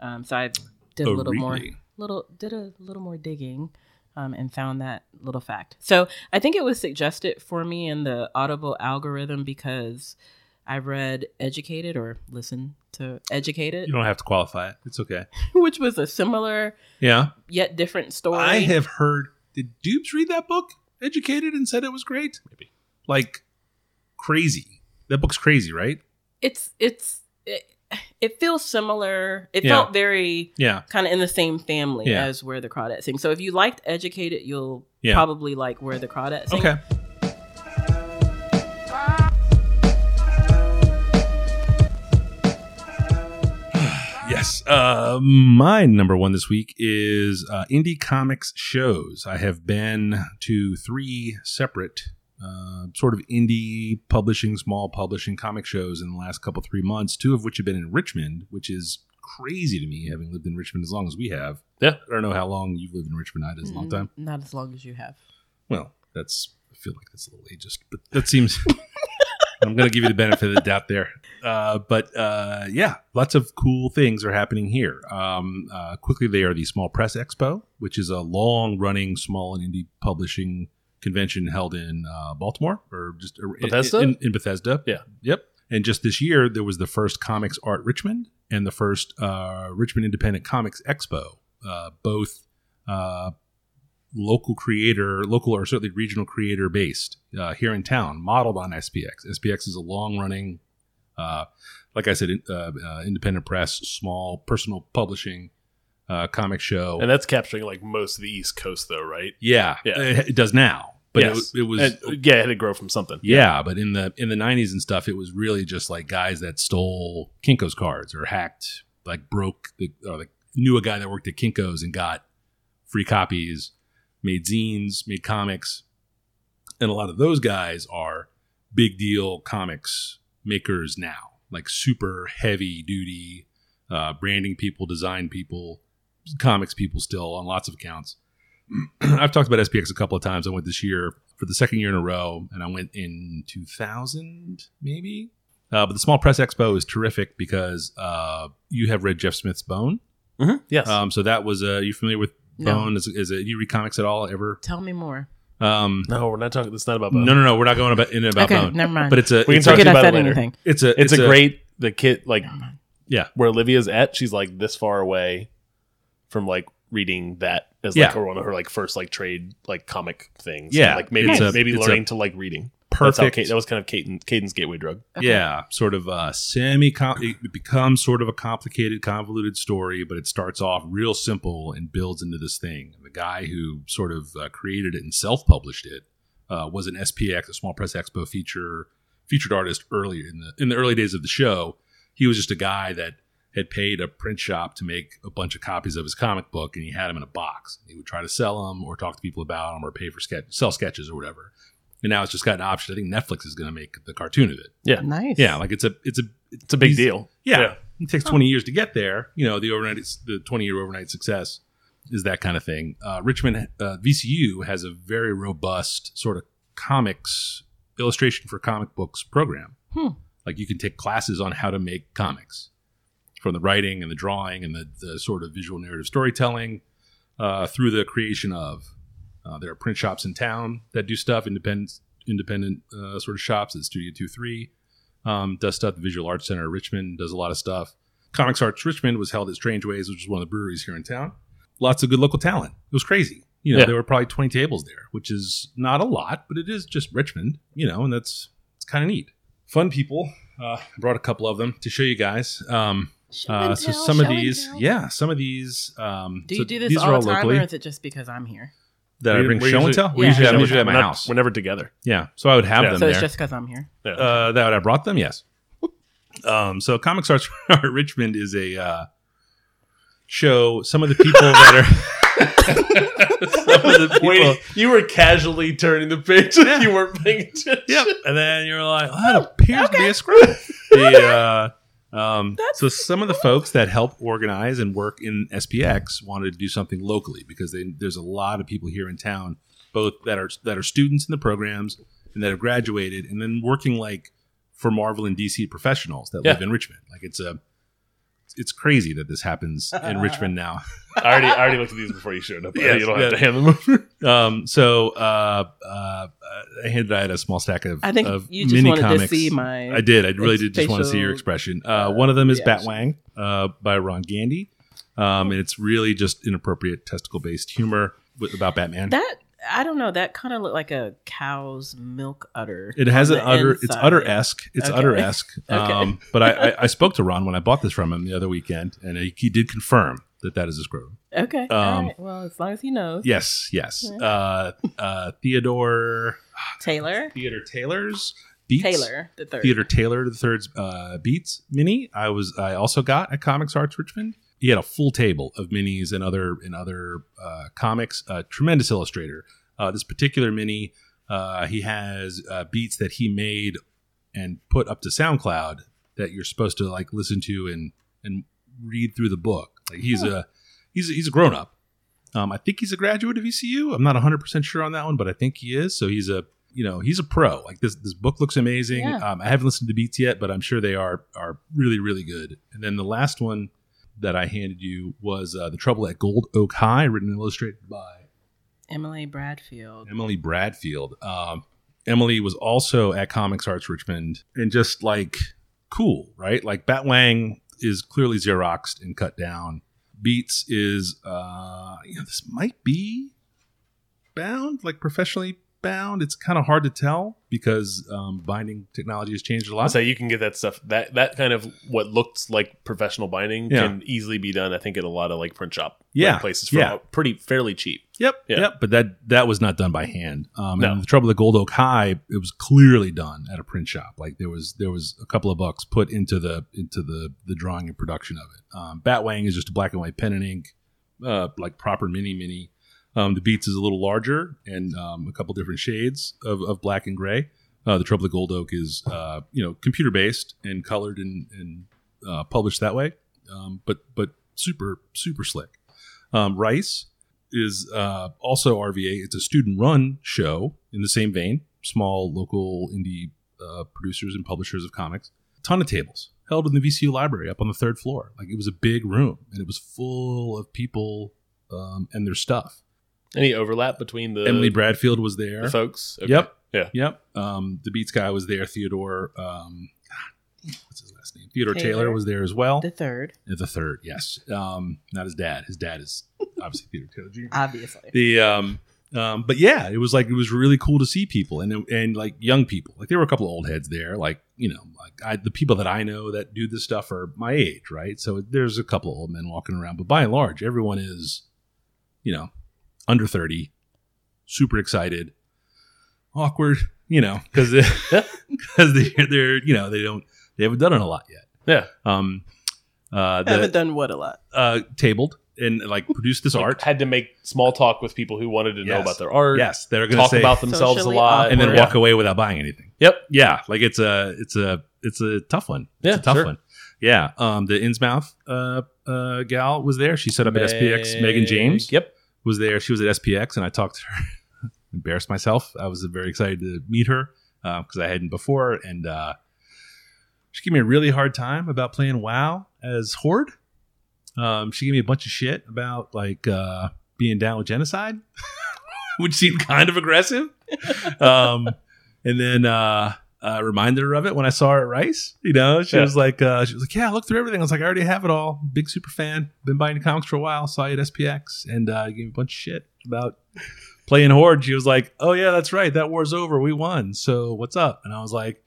[SPEAKER 4] Um, so I did a
[SPEAKER 3] Oh,
[SPEAKER 4] little more,
[SPEAKER 3] really?
[SPEAKER 4] little did a little more digging, um, and found that little fact. So I think it was suggested for me in the Audible algorithm because I read Educated or listened to Educated,
[SPEAKER 3] You don't have to qualify it. It's okay.
[SPEAKER 4] which was a similar
[SPEAKER 3] Yeah.
[SPEAKER 4] yet different story.
[SPEAKER 3] I have heard. Did Dubes read that book? Educated and said it was great. Maybe. Like crazy. That book's crazy, right?
[SPEAKER 4] it's it's it, it feels similar. It
[SPEAKER 3] Yeah.
[SPEAKER 4] felt very
[SPEAKER 3] Yeah.
[SPEAKER 4] kind of in the same family
[SPEAKER 3] Yeah.
[SPEAKER 4] as Where the Crawdads Sing. So if you liked Educated, you'll
[SPEAKER 3] Yeah.
[SPEAKER 4] probably like Where the Crawdads Sing.
[SPEAKER 3] Okay. Yes. Uh, my number one this week is uh, indie comics shows. I have been to three separate uh, sort of indie publishing, small publishing comic shows in the last couple three months. Two of which have been in Richmond, which is crazy to me, having lived in Richmond as long as we have.
[SPEAKER 1] Yeah.
[SPEAKER 3] I don't know how long you've lived in Richmond. I did a long time.
[SPEAKER 4] Mm, Not as long as you have.
[SPEAKER 3] Well, that's I feel like that's a little ageist, but that seems. I'm going to give you the benefit of the doubt there, uh, but uh, yeah, lots of cool things are happening here. Um, uh, quickly, they are the Small Press Expo, which is a long-running small and indie publishing convention held in uh, Baltimore or just or in-
[SPEAKER 1] Bethesda?
[SPEAKER 3] In, in Bethesda,
[SPEAKER 1] Yeah.
[SPEAKER 3] yep. And just this year, there was the first Comics Art Richmond and the first uh, Richmond Independent Comics Expo, uh, both uh, local creator, local or certainly regional creator based uh, here in town, modeled on SPX. SPX is a long running Uh, like I said, in- uh, uh, independent press, small personal publishing, uh, comic show.
[SPEAKER 1] and that's capturing like most of the East Coast, though, right?
[SPEAKER 3] yeah,
[SPEAKER 1] Yeah.
[SPEAKER 3] It, it does now, but
[SPEAKER 1] Yes.
[SPEAKER 3] it, it was.
[SPEAKER 1] And- uh, yeah, it had to grow from something.
[SPEAKER 3] yeah, but in the in the nineties and stuff, it was really just like guys that stole Kinko's cards or hacked, like broke, the, or like knew a guy that worked at Kinko's and got free copies, made zines, made comics, and a lot of those guys are big deal comics makers now, like super heavy duty uh, branding people, design people, comics people still on lots of accounts. I've talked about SPX a couple of times. I went this year for the second year in a row, and I went in 2000, maybe. Uh, but the Small Press Expo is terrific because uh, you have read Jeff Smith's Bone.
[SPEAKER 1] Mhm. Yes.
[SPEAKER 3] Um, so that was, uh, you familiar with
[SPEAKER 4] No.
[SPEAKER 3] Bone? Is, is it, you read comics at all ever?
[SPEAKER 4] Tell me more.
[SPEAKER 3] Um,
[SPEAKER 1] no, we're not talking. It's not about.
[SPEAKER 3] no,
[SPEAKER 1] Bone.
[SPEAKER 3] no, no. We're not going about, in about
[SPEAKER 4] okay,
[SPEAKER 3] Bone.
[SPEAKER 4] never mind.
[SPEAKER 3] But it's a,
[SPEAKER 1] We can
[SPEAKER 3] it's,
[SPEAKER 1] talk
[SPEAKER 3] a
[SPEAKER 4] forget I
[SPEAKER 1] about it
[SPEAKER 4] said
[SPEAKER 1] later.
[SPEAKER 4] anything.
[SPEAKER 3] it's a,
[SPEAKER 1] it's, a, great the kid like
[SPEAKER 4] Never mind.
[SPEAKER 1] where Olivia's at. She's like this far away from like reading that as like
[SPEAKER 3] Yeah.
[SPEAKER 1] her one of her like first like trade like comic things.
[SPEAKER 3] Yeah.
[SPEAKER 1] like maybe
[SPEAKER 3] It's a-
[SPEAKER 1] maybe
[SPEAKER 3] it's a
[SPEAKER 1] learning to like reading. That's how
[SPEAKER 3] perfect.
[SPEAKER 1] Kate, that was kind of Caden, Caden's gateway drug.
[SPEAKER 4] Okay.
[SPEAKER 3] Yeah, sort of uh semi. It becomes sort of a complicated, convoluted story, but it starts off real simple and builds into this thing. The guy who sort of uh, created it and self-published it uh, was an SPX, a Small Press Expo feature featured artist earlier in the in the early days of the show. He was just a guy that had paid a print shop to make a bunch of copies of his comic book, and he had them in a box. He would try to sell them, or talk to people about them, or pay for sketch, sell sketches or whatever. And now it's just got an option. I think Netflix is going to make the cartoon of it.
[SPEAKER 4] Nice.
[SPEAKER 3] Yeah, like it's a it's a
[SPEAKER 1] It's a big
[SPEAKER 3] He's-
[SPEAKER 1] deal.
[SPEAKER 3] yeah.
[SPEAKER 1] Yeah.
[SPEAKER 3] It takes twenty years to get there. You know, the overnight the twenty year overnight success is that kind of thing. Uh, Richmond uh, VCU has a very robust sort of comics illustration for comic books program.
[SPEAKER 4] Hmm.
[SPEAKER 3] Like you can take classes on how to make comics from the writing and the drawing and the, the sort of visual narrative storytelling uh, through the creation of. Uh, there are print shops in town that do stuff, independent independent uh, sort of shops at Studio Two Three um, does stuff. The Visual Arts Center in Richmond does a lot of stuff. Comics Arts Richmond was held at Strange Ways, which is one of the breweries here in town. Lots of good local talent. It was crazy. You know,
[SPEAKER 1] Yeah.
[SPEAKER 3] there were probably 20 tables there, which is not a lot, but it is just Richmond, you know, and that's it's kind of neat. Fun people. Uh, I brought a couple of them to show you guys. Um, uh, so some of these, yeah, some of these. Um,
[SPEAKER 4] Do
[SPEAKER 3] so
[SPEAKER 4] you do this
[SPEAKER 3] these
[SPEAKER 4] all
[SPEAKER 3] are
[SPEAKER 4] the time,
[SPEAKER 3] locally
[SPEAKER 4] or is it just because I'm here?
[SPEAKER 3] that I
[SPEAKER 1] We-
[SPEAKER 3] bring
[SPEAKER 1] we
[SPEAKER 3] show and
[SPEAKER 1] usually-
[SPEAKER 3] tell. We
[SPEAKER 4] Yeah.
[SPEAKER 3] usually,
[SPEAKER 4] Yeah,
[SPEAKER 1] we're
[SPEAKER 3] have them usually at my
[SPEAKER 1] not-
[SPEAKER 3] house.
[SPEAKER 1] We're never together.
[SPEAKER 3] Yeah, so I would have
[SPEAKER 1] Yeah.
[SPEAKER 3] them
[SPEAKER 4] So
[SPEAKER 3] there.
[SPEAKER 4] it's just because I'm here.
[SPEAKER 1] Yeah.
[SPEAKER 3] uh, that I brought them. Yes. Um, so Comics Arts Richmond is a uh, show. Some of the people that are some of the people.
[SPEAKER 1] Wait, you were casually turning the page. You weren't paying attention.
[SPEAKER 3] Yep. And then you're like, oh, that appears to be a script. The, uh, um, so some of the folks that help organize and work in SPX wanted to do something locally because they, there's a lot of people here in town, both that are that are students in the programs and that have graduated, and then working like for Marvel and DC professionals that
[SPEAKER 1] Yeah.
[SPEAKER 3] live in Richmond. Like it's a it's crazy that this happens in Richmond now.
[SPEAKER 1] I already, I already looked at these before you showed up.
[SPEAKER 3] Yes,
[SPEAKER 1] you don't
[SPEAKER 3] yeah.
[SPEAKER 1] have to hand them over.
[SPEAKER 3] Um, so uh, uh, I handed out a small stack of
[SPEAKER 4] I think
[SPEAKER 3] of
[SPEAKER 4] you just
[SPEAKER 3] Uh, mini
[SPEAKER 4] wanted
[SPEAKER 3] comics.
[SPEAKER 4] to see my.
[SPEAKER 3] I did. I really did just want to see your
[SPEAKER 4] facial,
[SPEAKER 3] expression. Uh, one of them is
[SPEAKER 4] yeah.
[SPEAKER 3] Batwang uh, by Ron Gandy, um, and it's really just inappropriate testicle-based humor with, about Batman.
[SPEAKER 4] That I don't know. That kind of looked like a cow's milk udder.
[SPEAKER 3] it has
[SPEAKER 4] on
[SPEAKER 3] an
[SPEAKER 4] the
[SPEAKER 3] utter. It's
[SPEAKER 4] inside.
[SPEAKER 3] utter esque. It's
[SPEAKER 4] Okay.
[SPEAKER 3] utter esque.
[SPEAKER 4] Okay.
[SPEAKER 3] Um, but I, I, I spoke to Ron when I bought this from him the other weekend, and he, he did confirm that that is a scrotum.
[SPEAKER 4] Okay. all
[SPEAKER 3] Um,
[SPEAKER 4] right. Well, as long as he knows.
[SPEAKER 3] Yes, yes. Uh, uh, Theodore
[SPEAKER 4] Taylor.
[SPEAKER 3] Theodore Taylor's Beats.
[SPEAKER 4] Taylor the third.
[SPEAKER 3] Theater Taylor the Third's uh, Beats mini. I was I also got at Comics Arts Richmond. He had a full table of minis and other and other uh, comics. Uh, tremendous illustrator. Uh, this particular mini, uh, he has uh, beats that he made and put up to SoundCloud that you're supposed to like listen to and and read through the book. Like he's a he's a, he's a grown up. Um, I think he's a graduate of ECU. I'm not 100 percent sure on that one, but I think he is. So he's a you know he's a pro. Like this this book looks amazing.
[SPEAKER 4] Yeah.
[SPEAKER 3] Um, I haven't listened to beats yet, but I'm sure they are are really really good. And then the last one that I handed you was uh, the Trouble at Gold Oak High, written and illustrated by
[SPEAKER 4] Emily Bradfield.
[SPEAKER 3] Emily Bradfield. Um, Emily was also at Comics Arts Richmond and just like cool, right? Like Batwang is clearly Xeroxed and cut down. Beats is, uh, you know, this might be bound, like professionally bound. It's kind of hard to tell because um, binding technology has changed a lot.
[SPEAKER 1] So you can get that stuff that that kind of what looks like professional binding
[SPEAKER 3] Yeah.
[SPEAKER 1] can easily be done. I think at a lot of like print shop
[SPEAKER 3] Yeah.
[SPEAKER 1] like, places for
[SPEAKER 3] Yeah.
[SPEAKER 1] pretty fairly cheap.
[SPEAKER 3] Yep,
[SPEAKER 1] Yeah.
[SPEAKER 3] yep. But that that was not done by hand. Um,
[SPEAKER 1] No.
[SPEAKER 3] and the trouble with Gold Oak High, it was clearly done at a print shop. Like there was there was a couple of bucks put into the into the the drawing and production of it. Um, Batwang is just a black and white pen and ink, uh, like proper mini mini. Um, the Beats is a little larger and um, a couple different shades of, of black and gray. Uh, the trouble with Gold Oak is uh, you know computer based and colored and and uh, published that way. Um, but but super super slick. Um, Rice is uh, also RVA. It's a student-run show in the same vein. Small local indie uh, producers and publishers of comics. Ton of tables held in the VCU library up on the third floor. Like it was a big room and it was full of people um, and their stuff.
[SPEAKER 1] Any overlap between the
[SPEAKER 3] Emily Bradfield was there.
[SPEAKER 1] the folks?
[SPEAKER 3] Yep.
[SPEAKER 1] Yeah.
[SPEAKER 3] Yep. Um, the Beats guy was there. Theodore. Um, God, what's his last name? Theodore Taylor,
[SPEAKER 4] Taylor.
[SPEAKER 3] was there as well.
[SPEAKER 4] The third,
[SPEAKER 3] The third, yes. Um, not his dad. His dad is obviously Theodore Taylor Jr.
[SPEAKER 4] obviously.
[SPEAKER 3] the um um but yeah it was like it was really cool to see people and and like young people like there were a couple of old heads there like you know like I, the people that i know that do this stuff are my age right so there's a couple of old men walking around but by and large everyone is you know under 30 super excited awkward you know because because they're, they're you know they don't they haven't done it a lot yet
[SPEAKER 1] Yeah.
[SPEAKER 3] um uh,
[SPEAKER 4] I haven't
[SPEAKER 3] the,
[SPEAKER 4] done what a lot.
[SPEAKER 3] uh tabled and like produced this
[SPEAKER 1] Like,
[SPEAKER 3] art
[SPEAKER 1] had to make small talk with people who wanted to know
[SPEAKER 3] Yes.
[SPEAKER 1] about their art.
[SPEAKER 3] yes they're gonna
[SPEAKER 1] talk
[SPEAKER 3] say,
[SPEAKER 1] about themselves a
[SPEAKER 4] Socially
[SPEAKER 1] lot,
[SPEAKER 4] awkward.
[SPEAKER 3] and then
[SPEAKER 1] Yeah.
[SPEAKER 3] walk away without buying anything.
[SPEAKER 1] Yep.
[SPEAKER 3] Yeah, like it's a it's a it's a tough one.
[SPEAKER 1] Yeah,
[SPEAKER 3] it's a tough
[SPEAKER 1] sure.
[SPEAKER 3] one. Yeah, um, the Innsmouth uh, uh, gal was there. She set up at SPX. Megan James
[SPEAKER 1] Yep.
[SPEAKER 3] was there. She was at SPX, and I talked to her. Embarrassed myself. I was very excited to meet her because I hadn't before, and uh, she gave me a really hard time about playing WoW as Horde. Um, she gave me a bunch of shit about like uh, being down with genocide, which seemed kind of aggressive. Um, and then uh, I reminded her of it when I saw her at Rice. You know, she
[SPEAKER 1] Yeah.
[SPEAKER 3] was like, uh, she was like, yeah, I looked through everything. I was like, I already have it all. Big super fan. Been buying the comics for a while. Saw you at SPX, and uh, gave me a bunch of shit about playing Horde. She was like, oh yeah, that's right. That war's over. We won. So what's up? And I was like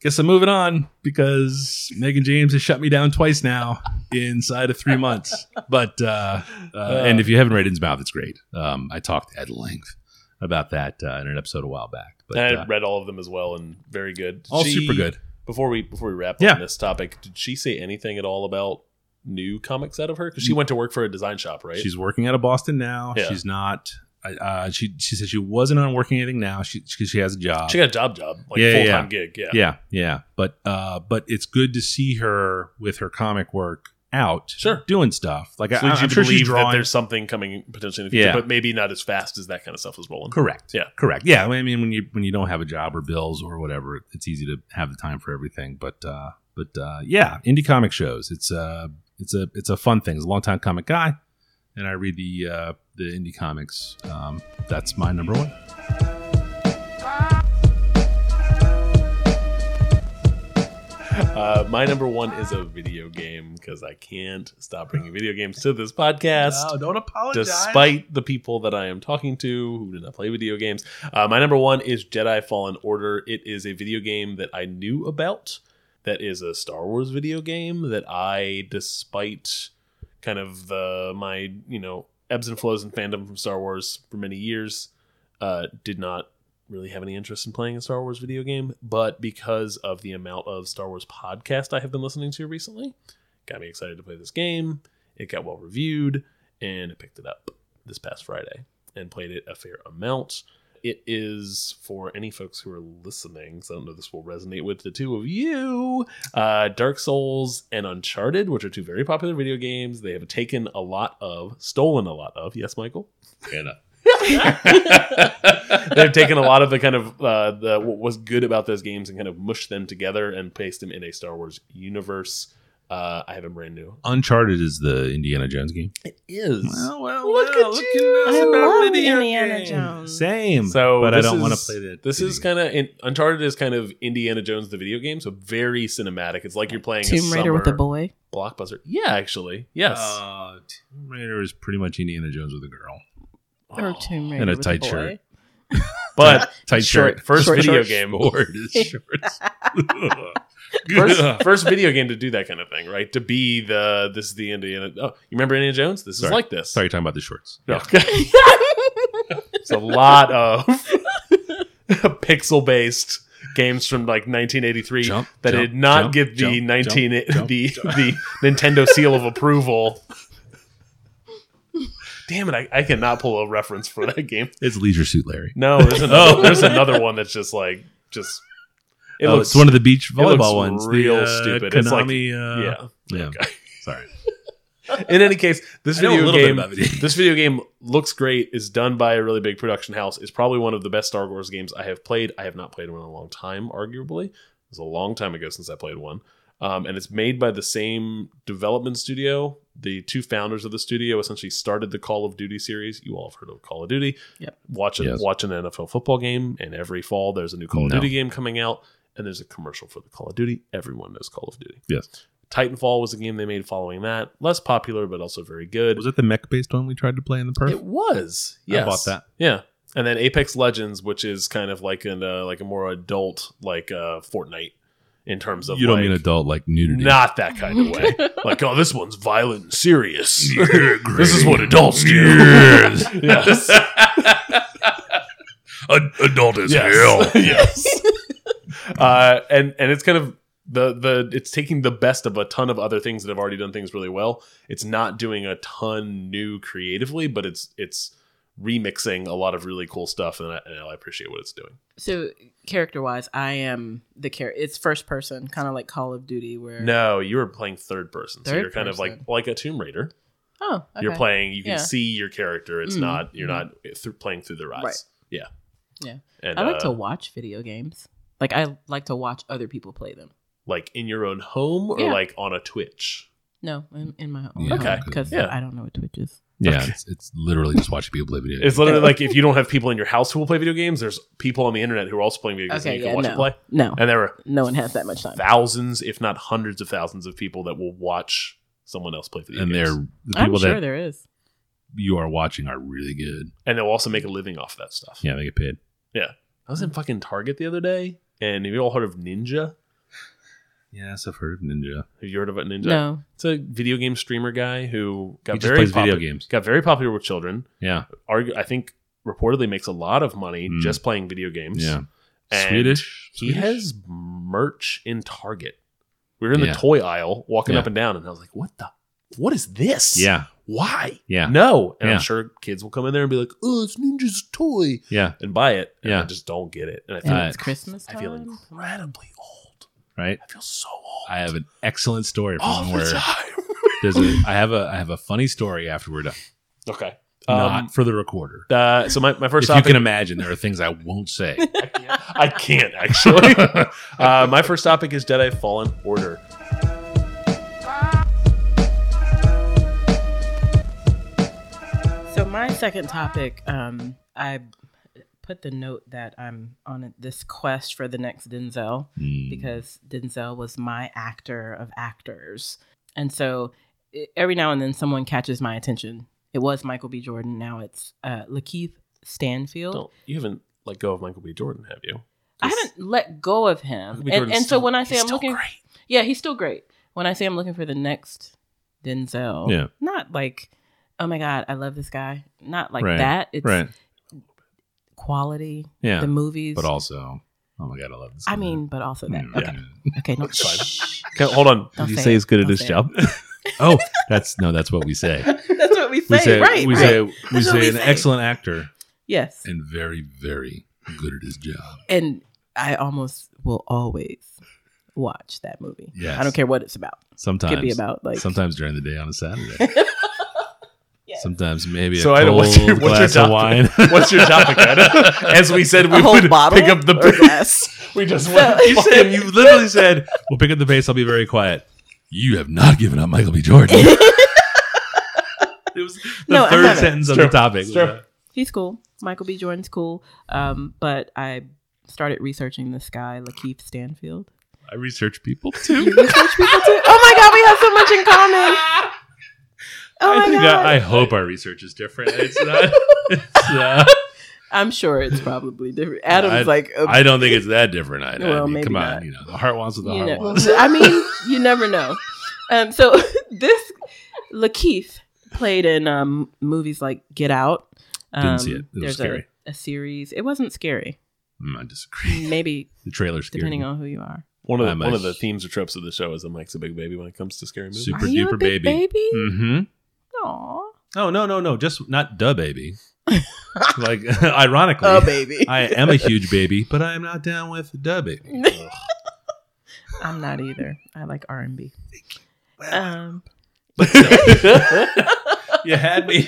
[SPEAKER 3] guess I'm moving on because Megan James has shut me down twice now inside of three months. But uh, uh, and if you haven't read In's Mouth, it's great. Um, I talked at length about that uh, in an episode a while back. But
[SPEAKER 1] and I
[SPEAKER 3] uh,
[SPEAKER 1] read all of them as well, and very good. Did
[SPEAKER 3] all
[SPEAKER 1] she-
[SPEAKER 3] super good.
[SPEAKER 1] Before we before we wrap
[SPEAKER 3] Yeah.
[SPEAKER 1] on this topic, did she say anything at all about new comics out of her? Because she went to work for a design shop, right?
[SPEAKER 3] She's working out of Boston now.
[SPEAKER 1] Yeah.
[SPEAKER 3] She's not. I- Uh, she she said she wasn't on working anything now. She she, she has a job.
[SPEAKER 1] she got a job job, like
[SPEAKER 3] Yeah, yeah,
[SPEAKER 1] full time gig. Yeah.
[SPEAKER 3] yeah, yeah. But uh, but it's good to see her with her comic work out,
[SPEAKER 1] Sure.
[SPEAKER 3] doing stuff. Like
[SPEAKER 1] So did
[SPEAKER 3] I,
[SPEAKER 1] you
[SPEAKER 3] I'm sure she's
[SPEAKER 1] believe
[SPEAKER 3] drawing.
[SPEAKER 1] that there's something coming potentially in the future,
[SPEAKER 3] Yeah.
[SPEAKER 1] but maybe not as fast as that kind of stuff is rolling?
[SPEAKER 3] Correct.
[SPEAKER 1] Yeah.
[SPEAKER 3] Correct. Yeah. I mean, when you when you don't have a job or bills or whatever, it's easy to have the time for everything. But uh, but uh, yeah, indie comic shows. It's uh it's a it's a fun thing. It's a long time comic guy, and I read the uh, the indie comics. Um, that's my number one.
[SPEAKER 1] Uh, my number one is a video game because I can't stop bringing video games to this podcast.
[SPEAKER 3] don't apologize.
[SPEAKER 1] despite the people that I am talking to who do not play video games. Uh, my number one is Jedi Fallen Order. It is a video game that I knew about. That is a Star Wars video game that I, despite kind of the my you know ebbs and flows in fandom from Star Wars for many years, uh, did not really have any interest in playing a Star Wars video game. But because of the amount of Star Wars podcast I have been listening to recently, got me excited to play this game. It got well reviewed, and I picked it up this past Friday and played it a fair amount. It is for any folks who are listening, so I don't know if this will resonate with the two of you. Uh, Dark Souls and Uncharted, which are two very popular video games, they have taken a lot of, stolen a lot of. Yes, Michael. They've taken a lot of the kind of uh, the what was good about those games and kind of mushed them together and placed them in a Star Wars universe. Uh, I have them brand new.
[SPEAKER 3] Uncharted is the Indiana Jones game.
[SPEAKER 1] It is.
[SPEAKER 3] well,
[SPEAKER 1] Look well, at look you. at us
[SPEAKER 4] I about love video Indiana games. Jones.
[SPEAKER 3] Same.
[SPEAKER 1] So,
[SPEAKER 3] but I
[SPEAKER 1] this
[SPEAKER 3] don't want to
[SPEAKER 1] is-
[SPEAKER 3] play that.
[SPEAKER 1] This
[SPEAKER 3] video
[SPEAKER 1] is
[SPEAKER 3] game.
[SPEAKER 1] kind of Uncharted is kind of Indiana Jones the video game, so very cinematic. It's like you're playing a
[SPEAKER 4] Tomb Raider with a
[SPEAKER 1] summer
[SPEAKER 4] boy.
[SPEAKER 1] blockbuster. Yeah, actually, yes.
[SPEAKER 3] Uh, Tomb Raider is pretty much Indiana Jones with a girl.
[SPEAKER 4] Or Tomb Raider
[SPEAKER 3] And a
[SPEAKER 4] with
[SPEAKER 3] tight
[SPEAKER 4] boy.
[SPEAKER 3] shirt.
[SPEAKER 1] Oh. But
[SPEAKER 3] tight
[SPEAKER 1] short,
[SPEAKER 3] shirt.
[SPEAKER 1] first
[SPEAKER 4] Short
[SPEAKER 1] video
[SPEAKER 4] shorts.
[SPEAKER 1] game,
[SPEAKER 3] Lord, his shorts.
[SPEAKER 1] first, first video game to do that kind of thing, right? To be the this is the Indiana. Oh, you remember Indiana Jones? This
[SPEAKER 3] Sorry.
[SPEAKER 1] is like this.
[SPEAKER 3] Sorry, you're talking about the shorts.
[SPEAKER 1] No. it's a lot of pixel based games from like 1983
[SPEAKER 3] Jump,
[SPEAKER 1] that
[SPEAKER 3] jump,
[SPEAKER 1] did not
[SPEAKER 3] jump,
[SPEAKER 1] give the
[SPEAKER 3] jump,
[SPEAKER 1] 19
[SPEAKER 3] jump, jump,
[SPEAKER 1] the the Nintendo seal of approval. Damn it! I, I cannot pull a reference for that game. Oh.
[SPEAKER 3] It's Leisure Suit Larry.
[SPEAKER 1] No, there's another, there's another one that's just like just. It
[SPEAKER 3] oh, it's one of the beach
[SPEAKER 1] looks
[SPEAKER 3] volleyball ones. The,
[SPEAKER 1] real
[SPEAKER 3] uh,
[SPEAKER 1] stupid. It's like-
[SPEAKER 3] Konami. uh,
[SPEAKER 1] yeah.
[SPEAKER 3] yeah.
[SPEAKER 1] Okay.
[SPEAKER 3] Sorry. uh,
[SPEAKER 1] In any case, this
[SPEAKER 3] I know a
[SPEAKER 1] video
[SPEAKER 3] little bit
[SPEAKER 1] game
[SPEAKER 3] about video games.
[SPEAKER 1] this video game looks great. is done by a really big production house. It's probably one of the best Star Wars games I have played. I have not played one in a long time. Arguably, it was a long time ago since I played one. Um, and it's made by the same development studio. The two founders of the studio essentially started the Call of Duty series. You all have heard of Call of Duty.
[SPEAKER 4] Yep.
[SPEAKER 1] Watch, a,
[SPEAKER 3] Yes.
[SPEAKER 1] watch an NFL football game, and every fall there's a new Call of
[SPEAKER 3] No.
[SPEAKER 1] Duty game coming out, and there's a commercial for the Call of Duty. Everyone knows Call of Duty.
[SPEAKER 3] Yes.
[SPEAKER 1] Titanfall was a game they made following that. Less popular, but also very good.
[SPEAKER 3] Was it the mech based one we tried to play in the perf?
[SPEAKER 1] It was.
[SPEAKER 3] I
[SPEAKER 1] Yes.
[SPEAKER 3] bought that.
[SPEAKER 1] Yeah. And then Apex Legends, which is kind of like an uh, like a more adult like uh Fortnite in terms of
[SPEAKER 3] you don't
[SPEAKER 1] like,
[SPEAKER 3] mean adult like nudity.
[SPEAKER 1] not that kind of way. like, oh, this one's violent and serious. this is what adults do. yes.
[SPEAKER 3] adult as
[SPEAKER 1] yes. yes. Uh, and and it's kind of the the it's taking the best of a ton of other things that have already done things really well. It's not doing a ton new creatively, but it's it's remixing a lot of really cool stuff, and I, and I appreciate what it's doing.
[SPEAKER 4] So character wise, I am the character. It's first person, kind of like Call of Duty, where
[SPEAKER 1] No, you were playing third person, so
[SPEAKER 4] Third
[SPEAKER 1] you're kind of like
[SPEAKER 4] person.
[SPEAKER 1] like a Tomb Raider.
[SPEAKER 4] oh, okay.
[SPEAKER 1] You're playing, you can
[SPEAKER 4] Yeah.
[SPEAKER 1] see your character. It's
[SPEAKER 4] Mm.
[SPEAKER 1] not you're not th- playing through their eyes.
[SPEAKER 4] Right.
[SPEAKER 1] Yeah,
[SPEAKER 4] Yeah.
[SPEAKER 1] And,
[SPEAKER 4] I like to
[SPEAKER 1] uh,
[SPEAKER 4] watch video games. Like I like to watch other people play them.
[SPEAKER 1] like in your own home or
[SPEAKER 4] Yeah.
[SPEAKER 1] like on a Twitch.
[SPEAKER 4] No, in, in my own
[SPEAKER 3] Yeah.
[SPEAKER 1] Okay.
[SPEAKER 4] because
[SPEAKER 1] Yeah.
[SPEAKER 4] I don't know what Twitch is.
[SPEAKER 3] Yeah, it's, it's literally just watching people play video. games.
[SPEAKER 1] It's literally like if you don't have people in your house who will play video games, there's people on the internet who are also playing video games
[SPEAKER 4] Okay,
[SPEAKER 1] and you
[SPEAKER 4] yeah,
[SPEAKER 1] can watch
[SPEAKER 4] no,
[SPEAKER 1] them play.
[SPEAKER 4] no,
[SPEAKER 1] And there are
[SPEAKER 4] no one has that much time.
[SPEAKER 1] thousands, if not hundreds of thousands of people that will watch someone else play video
[SPEAKER 3] and they're
[SPEAKER 1] games.
[SPEAKER 3] the
[SPEAKER 4] I'm
[SPEAKER 3] people
[SPEAKER 4] sure
[SPEAKER 3] that
[SPEAKER 4] there is.
[SPEAKER 3] you are watching are really good.
[SPEAKER 1] And they'll also make a living off that stuff.
[SPEAKER 3] Yeah, they get paid.
[SPEAKER 1] I was in fucking Target the other day, and have you all heard of Ninja?
[SPEAKER 3] Yes, I've heard of Ninja.
[SPEAKER 1] Have you heard about Ninja?
[SPEAKER 4] No,
[SPEAKER 1] It's a video game streamer guy who got
[SPEAKER 3] He just
[SPEAKER 1] very
[SPEAKER 3] plays
[SPEAKER 1] popular,
[SPEAKER 3] video games.
[SPEAKER 1] got very popular with children.
[SPEAKER 3] Yeah,
[SPEAKER 1] Argu- I think reportedly makes a lot of money
[SPEAKER 3] Mm.
[SPEAKER 1] just playing video games.
[SPEAKER 3] yeah.
[SPEAKER 1] And
[SPEAKER 3] Swedish.
[SPEAKER 1] He
[SPEAKER 3] Swedish?
[SPEAKER 1] has merch in Target. We were in
[SPEAKER 3] Yeah.
[SPEAKER 1] the toy aisle walking
[SPEAKER 3] Yeah.
[SPEAKER 1] up and down, and I was like, what the? What is this?
[SPEAKER 3] Yeah,
[SPEAKER 1] Why?
[SPEAKER 3] yeah,
[SPEAKER 1] No. And
[SPEAKER 3] Yeah.
[SPEAKER 1] I'm sure kids will come in there and be like, oh, it's Ninja's toy
[SPEAKER 3] yeah.
[SPEAKER 1] and buy it. And
[SPEAKER 3] Yeah.
[SPEAKER 1] I just don't get it. And I feel,
[SPEAKER 4] and
[SPEAKER 3] Uh,
[SPEAKER 4] it's Christmas time.
[SPEAKER 1] I feel incredibly old.
[SPEAKER 3] Right.
[SPEAKER 1] I feel so old.
[SPEAKER 3] I have an excellent story from
[SPEAKER 4] Oh,
[SPEAKER 1] all the
[SPEAKER 3] where
[SPEAKER 1] time.
[SPEAKER 3] there's a. I have a. I have a funny story afterward. uh,
[SPEAKER 1] okay. Um,
[SPEAKER 3] not for the recorder.
[SPEAKER 1] uh, so my, my
[SPEAKER 3] If
[SPEAKER 1] first
[SPEAKER 3] you
[SPEAKER 1] topic.
[SPEAKER 3] can imagine, there are things I won't say.
[SPEAKER 1] I can't actually. uh, my first topic is Jedi Fallen Order.
[SPEAKER 4] So my second topic, um, I put the note that I'm on this quest for the next Denzel
[SPEAKER 3] Mm.
[SPEAKER 4] because Denzel was my actor of actors, and so i- every now and then someone catches my attention. It was Michael B. Jordan. Now it's uh, Lakeith Stanfield.
[SPEAKER 1] Don't you haven't let go of Michael B. Jordan, have you?
[SPEAKER 4] I haven't let go of
[SPEAKER 1] Michael
[SPEAKER 4] him,
[SPEAKER 1] B.
[SPEAKER 4] and,
[SPEAKER 1] Jordan's
[SPEAKER 4] and so
[SPEAKER 1] still-
[SPEAKER 4] when I say
[SPEAKER 1] he's
[SPEAKER 4] I'm
[SPEAKER 1] still
[SPEAKER 4] looking,
[SPEAKER 1] great.
[SPEAKER 4] yeah, he's still great. When I say I'm looking for the next Denzel,
[SPEAKER 3] Yeah.
[SPEAKER 4] not like, oh my god, I love this guy, not like
[SPEAKER 3] Right,
[SPEAKER 4] that. It's
[SPEAKER 3] right.
[SPEAKER 4] quality,
[SPEAKER 3] Yeah,
[SPEAKER 4] the movies.
[SPEAKER 3] but also, oh my god, I love this.
[SPEAKER 4] I
[SPEAKER 3] guy.
[SPEAKER 4] mean, but also that.
[SPEAKER 3] Mm,
[SPEAKER 4] Okay,
[SPEAKER 3] yeah.
[SPEAKER 4] okay, no,
[SPEAKER 1] It's fine.
[SPEAKER 4] shh.
[SPEAKER 1] Okay, hold on.
[SPEAKER 4] Don't Did you say say it. he's good at Don't his say it. job?
[SPEAKER 3] Oh, that's no, that's what we say.
[SPEAKER 4] that's what we say,
[SPEAKER 3] We say
[SPEAKER 4] right?
[SPEAKER 3] we
[SPEAKER 4] right.
[SPEAKER 3] say we
[SPEAKER 4] That's what
[SPEAKER 3] say
[SPEAKER 4] we
[SPEAKER 3] an
[SPEAKER 4] say.
[SPEAKER 3] excellent actor
[SPEAKER 4] yes,
[SPEAKER 3] and very very good at his job.
[SPEAKER 4] and I almost will always watch that movie.
[SPEAKER 3] Yes.
[SPEAKER 4] I don't care what it's about.
[SPEAKER 3] Sometimes
[SPEAKER 4] It could be about like
[SPEAKER 3] sometimes during the day on a Saturday.
[SPEAKER 4] Yes.
[SPEAKER 3] Sometimes maybe a
[SPEAKER 1] So,
[SPEAKER 3] cold
[SPEAKER 1] Ida, what's your- what's your
[SPEAKER 3] glass of wine.
[SPEAKER 1] topic? What's your topic, Ida? As we said, we
[SPEAKER 4] a whole
[SPEAKER 1] would
[SPEAKER 4] bottle.
[SPEAKER 1] pick up the
[SPEAKER 4] or
[SPEAKER 1] pace.
[SPEAKER 4] glass.
[SPEAKER 1] We just went.
[SPEAKER 3] you said you literally said we'll pick up the pace. I'll be very quiet. You have not given up Michael B. Jordan. it was the
[SPEAKER 4] No, I
[SPEAKER 3] third
[SPEAKER 4] haven't.
[SPEAKER 3] sentence of
[SPEAKER 1] Sure.
[SPEAKER 3] the topic. uh,
[SPEAKER 1] Sure.
[SPEAKER 4] he's cool. Michael B. Jordan's cool. Um, but I started researching this guy, Lakeith Stanfield.
[SPEAKER 3] I research people too.
[SPEAKER 4] Oh my god, we have so much in common. Oh
[SPEAKER 3] I
[SPEAKER 4] my
[SPEAKER 3] think
[SPEAKER 4] god.
[SPEAKER 3] I, I hope our research is different. It's not. It's, uh,
[SPEAKER 4] I'm sure it's probably different. Adam's
[SPEAKER 3] I-
[SPEAKER 4] like, uh,
[SPEAKER 3] I don't think it's that different. I, I
[SPEAKER 4] Well,
[SPEAKER 3] mean,
[SPEAKER 4] maybe
[SPEAKER 3] come on,
[SPEAKER 4] not.
[SPEAKER 3] you know, the heart wants what the
[SPEAKER 4] you
[SPEAKER 3] heart
[SPEAKER 4] know,
[SPEAKER 3] wants.
[SPEAKER 4] I mean, you never know. Um, so this Lakeith played in um, movies like Get Out. Um,
[SPEAKER 3] Didn't see it. It was
[SPEAKER 4] there's a-
[SPEAKER 3] scary.
[SPEAKER 4] A, series. It wasn't scary.
[SPEAKER 3] Mm, I disagree.
[SPEAKER 4] Maybe
[SPEAKER 3] The trailer scared
[SPEAKER 4] depending
[SPEAKER 3] me.
[SPEAKER 4] on who you are.
[SPEAKER 1] One of the,
[SPEAKER 3] I'm a
[SPEAKER 1] one of the
[SPEAKER 3] sh-
[SPEAKER 1] themes or tropes of the show is that Mike's a big baby when it comes to scary movies.
[SPEAKER 3] Super
[SPEAKER 4] are you
[SPEAKER 3] duper
[SPEAKER 4] a big
[SPEAKER 3] baby.
[SPEAKER 4] baby?
[SPEAKER 3] Mm-hmm.
[SPEAKER 4] Aw.
[SPEAKER 3] Oh no no no! Just not duh baby. like ironically,
[SPEAKER 4] Oh, baby.
[SPEAKER 3] I am a huge baby, but I am not down with duh baby.
[SPEAKER 4] I'm not either. I like R and B. Um,
[SPEAKER 3] But still. you had me.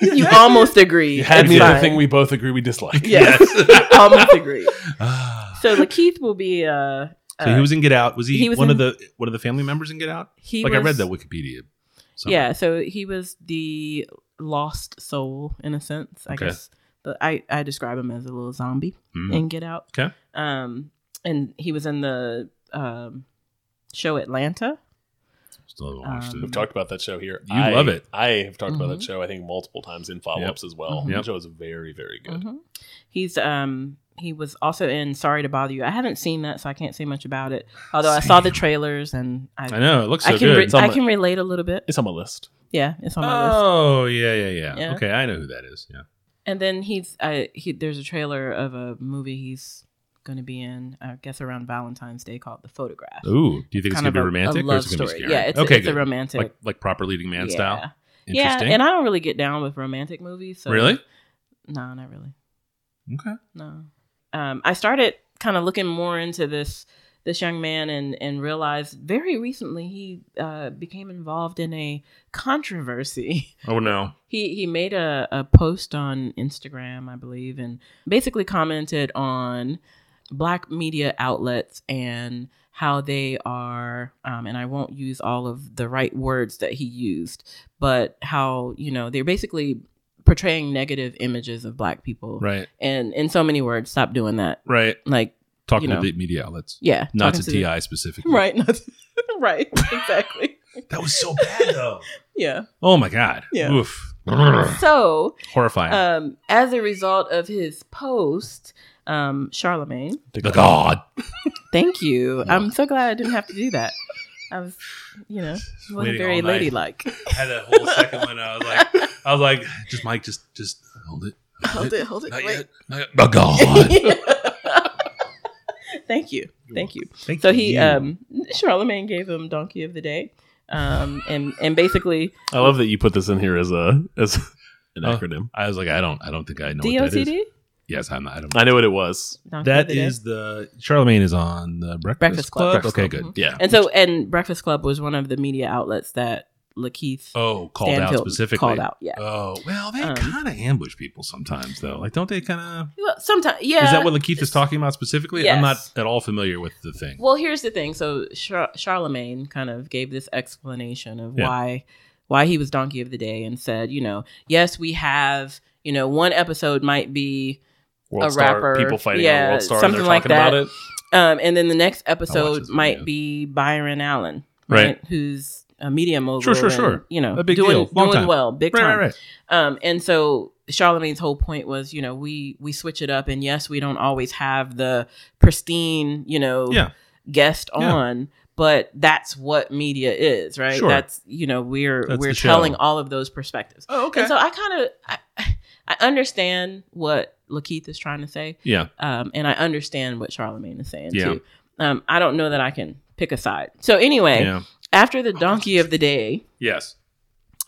[SPEAKER 4] you almost agreed.
[SPEAKER 1] You had
[SPEAKER 4] It's
[SPEAKER 1] me the
[SPEAKER 4] fine.
[SPEAKER 1] thing we both agree we dislike.
[SPEAKER 4] Yes, you almost agreed.
[SPEAKER 3] Ah.
[SPEAKER 4] So Lakeith will be. Uh,
[SPEAKER 3] so
[SPEAKER 4] uh,
[SPEAKER 3] he was in Get Out. Was he,
[SPEAKER 4] he was
[SPEAKER 3] one of
[SPEAKER 4] in-
[SPEAKER 3] the one of the family members in Get Out?
[SPEAKER 4] he
[SPEAKER 3] like I read
[SPEAKER 4] was-
[SPEAKER 3] that Wikipedia. somewhere.
[SPEAKER 4] Yeah, so he was the lost soul in a sense, I
[SPEAKER 3] Okay.
[SPEAKER 4] guess. But I I describe him as a little zombie
[SPEAKER 3] Mm.
[SPEAKER 4] in Get Out.
[SPEAKER 3] Okay.
[SPEAKER 4] Um, and he was in the um show Atlanta.
[SPEAKER 3] Still haven't watched
[SPEAKER 4] Um,
[SPEAKER 3] it.
[SPEAKER 1] We've talked about that show here.
[SPEAKER 3] You love it.
[SPEAKER 1] I have talked about that
[SPEAKER 4] Mhm.
[SPEAKER 1] show, I think, multiple times in follow ups as well.
[SPEAKER 4] Mhm.
[SPEAKER 1] The
[SPEAKER 3] Yep. Mm-hmm.
[SPEAKER 1] show is very, very good.
[SPEAKER 4] Mhm. He's um he was also in Sorry to Bother You. I haven't seen that, so I can't say much about it. Although I saw the
[SPEAKER 3] Same.
[SPEAKER 4] trailers and I
[SPEAKER 3] I know it looks so
[SPEAKER 4] I can
[SPEAKER 3] good.
[SPEAKER 4] re-
[SPEAKER 1] It's on
[SPEAKER 4] I
[SPEAKER 1] my-
[SPEAKER 4] can relate a little bit.
[SPEAKER 1] It's on my list.
[SPEAKER 4] Yeah, it's on my list.
[SPEAKER 3] oh yeah, yeah yeah
[SPEAKER 4] Yeah.
[SPEAKER 3] Okay, I know who that is. Yeah.
[SPEAKER 4] And then he's uh, he, there's a trailer of a movie he's going to be in, I guess around Valentine's Day called The Photograph.
[SPEAKER 3] Ooh, do you think it's
[SPEAKER 4] Kind
[SPEAKER 3] gonna
[SPEAKER 4] of
[SPEAKER 3] be
[SPEAKER 4] a- a
[SPEAKER 3] romantic or
[SPEAKER 4] love
[SPEAKER 3] is it gonna
[SPEAKER 4] story.
[SPEAKER 3] be scary?
[SPEAKER 4] Yeah, it's,
[SPEAKER 3] okay,
[SPEAKER 4] it's a
[SPEAKER 3] good.
[SPEAKER 4] romantic.
[SPEAKER 3] like like proper leading man
[SPEAKER 4] yeah.
[SPEAKER 3] style.
[SPEAKER 4] Yeah,
[SPEAKER 3] Interesting.
[SPEAKER 4] and I don't really get down with romantic movies. So
[SPEAKER 3] really?
[SPEAKER 4] No, not really.
[SPEAKER 3] Okay.
[SPEAKER 4] No. Um, I started kind of looking more into this this young man and and realized very recently he uh, became involved in a controversy.
[SPEAKER 3] Oh no.
[SPEAKER 4] He he made a, a post on Instagram, I believe, and basically commented on black media outlets and how they are um, and I won't use all of the right words that he used, but how, you know, they're basically portraying negative images of black people.
[SPEAKER 3] Right.
[SPEAKER 4] And in so many words, stop doing that.
[SPEAKER 3] Right.
[SPEAKER 4] Like,
[SPEAKER 3] Talking
[SPEAKER 4] You
[SPEAKER 3] to
[SPEAKER 4] know.
[SPEAKER 3] the media outlets.
[SPEAKER 4] yeah.
[SPEAKER 3] Not
[SPEAKER 4] talking
[SPEAKER 3] to TI specifically.
[SPEAKER 4] Right. Not to- right. Exactly.
[SPEAKER 3] That was so bad though.
[SPEAKER 4] yeah.
[SPEAKER 3] oh my god.
[SPEAKER 4] Yeah.
[SPEAKER 3] Oof.
[SPEAKER 4] So
[SPEAKER 3] Horrifying.
[SPEAKER 4] um, as a result of his post, um, Charlemagne.
[SPEAKER 3] the god.
[SPEAKER 4] Thank you. I'm so glad I didn't have to do that. I was, you know,
[SPEAKER 3] Waiting
[SPEAKER 4] wasn't
[SPEAKER 3] all
[SPEAKER 4] very
[SPEAKER 3] night.
[SPEAKER 4] ladylike.
[SPEAKER 3] had that whole second one. I was like, I was like, just Mike, just just hold it.
[SPEAKER 4] Hold it, hold it,
[SPEAKER 3] Not
[SPEAKER 4] wait.
[SPEAKER 3] yet. Not yet. The god.
[SPEAKER 4] Thank you, thank you.
[SPEAKER 3] Thank
[SPEAKER 4] So he,
[SPEAKER 3] you.
[SPEAKER 4] um, Charlemagne gave him donkey of the day, um, and and basically
[SPEAKER 1] I love that you put this in here as a as an
[SPEAKER 3] Oh.
[SPEAKER 1] acronym.
[SPEAKER 3] I was like, I don't, I don't think I know what that is.
[SPEAKER 4] DOTD.
[SPEAKER 3] Yes, I'm not. I don't.
[SPEAKER 1] I know what it was.
[SPEAKER 4] Donkey
[SPEAKER 3] That
[SPEAKER 4] of the Day.
[SPEAKER 3] is the Charlemagne is on the Breakfast,
[SPEAKER 4] Breakfast
[SPEAKER 3] Club.
[SPEAKER 4] Club.
[SPEAKER 3] okay,
[SPEAKER 4] Breakfast Club,
[SPEAKER 3] good. Yeah.
[SPEAKER 4] and so and Breakfast Club was one of the media outlets that Lakeith
[SPEAKER 3] Oh, called out
[SPEAKER 4] Stanfield
[SPEAKER 3] specifically.
[SPEAKER 4] called out. Yeah,
[SPEAKER 3] Oh well, they
[SPEAKER 4] Um,
[SPEAKER 3] kind of ambush people sometimes, though. Like, don't they kind of?
[SPEAKER 4] well, sometimes yeah.
[SPEAKER 3] Is that what Lakeith is talking about specifically? I'm not
[SPEAKER 4] Yes.
[SPEAKER 3] at all familiar with the thing.
[SPEAKER 4] Well, here's the thing. So Char- Charlemagne kind of gave this explanation of
[SPEAKER 3] Yeah.
[SPEAKER 4] why why he was donkey of the day and said, you know, yes, we have, you know, one episode might be
[SPEAKER 1] World
[SPEAKER 4] A
[SPEAKER 1] Star,
[SPEAKER 4] rapper.
[SPEAKER 1] people fighting
[SPEAKER 4] Yeah,
[SPEAKER 1] on World Star, and
[SPEAKER 4] something
[SPEAKER 1] they're
[SPEAKER 4] like
[SPEAKER 1] talking
[SPEAKER 4] that.
[SPEAKER 1] about it.
[SPEAKER 4] um and then the next
[SPEAKER 3] this
[SPEAKER 4] episode might
[SPEAKER 3] video.
[SPEAKER 4] be Byron Allen,
[SPEAKER 3] Right.
[SPEAKER 4] Who's a media mogul.
[SPEAKER 3] Sure, sure,
[SPEAKER 4] and,
[SPEAKER 3] sure.
[SPEAKER 4] You know,
[SPEAKER 3] A big
[SPEAKER 4] doing,
[SPEAKER 3] deal. Long
[SPEAKER 4] doing
[SPEAKER 3] time.
[SPEAKER 4] well, big
[SPEAKER 3] right,
[SPEAKER 4] time.
[SPEAKER 3] right, right.
[SPEAKER 4] Um, and so Charlemagne's whole point was, you know, we we switch it up, and yes, we don't always have the pristine, you know,
[SPEAKER 3] Yeah.
[SPEAKER 4] guest
[SPEAKER 3] Yeah.
[SPEAKER 4] on, but that's what media is, right?
[SPEAKER 3] Sure.
[SPEAKER 4] That's you know, we're
[SPEAKER 3] That's
[SPEAKER 4] we're
[SPEAKER 3] the show.
[SPEAKER 4] telling all of those perspectives.
[SPEAKER 3] Oh, okay.
[SPEAKER 4] And so I kind of I, I understand what Lakeith is trying to say,
[SPEAKER 3] yeah.
[SPEAKER 4] um, and I understand what Charlemagne is saying
[SPEAKER 3] Yeah.
[SPEAKER 4] too. Um, I don't know that I can pick a side. So anyway,
[SPEAKER 3] Yeah.
[SPEAKER 4] after the donkey of the day,
[SPEAKER 3] Yes.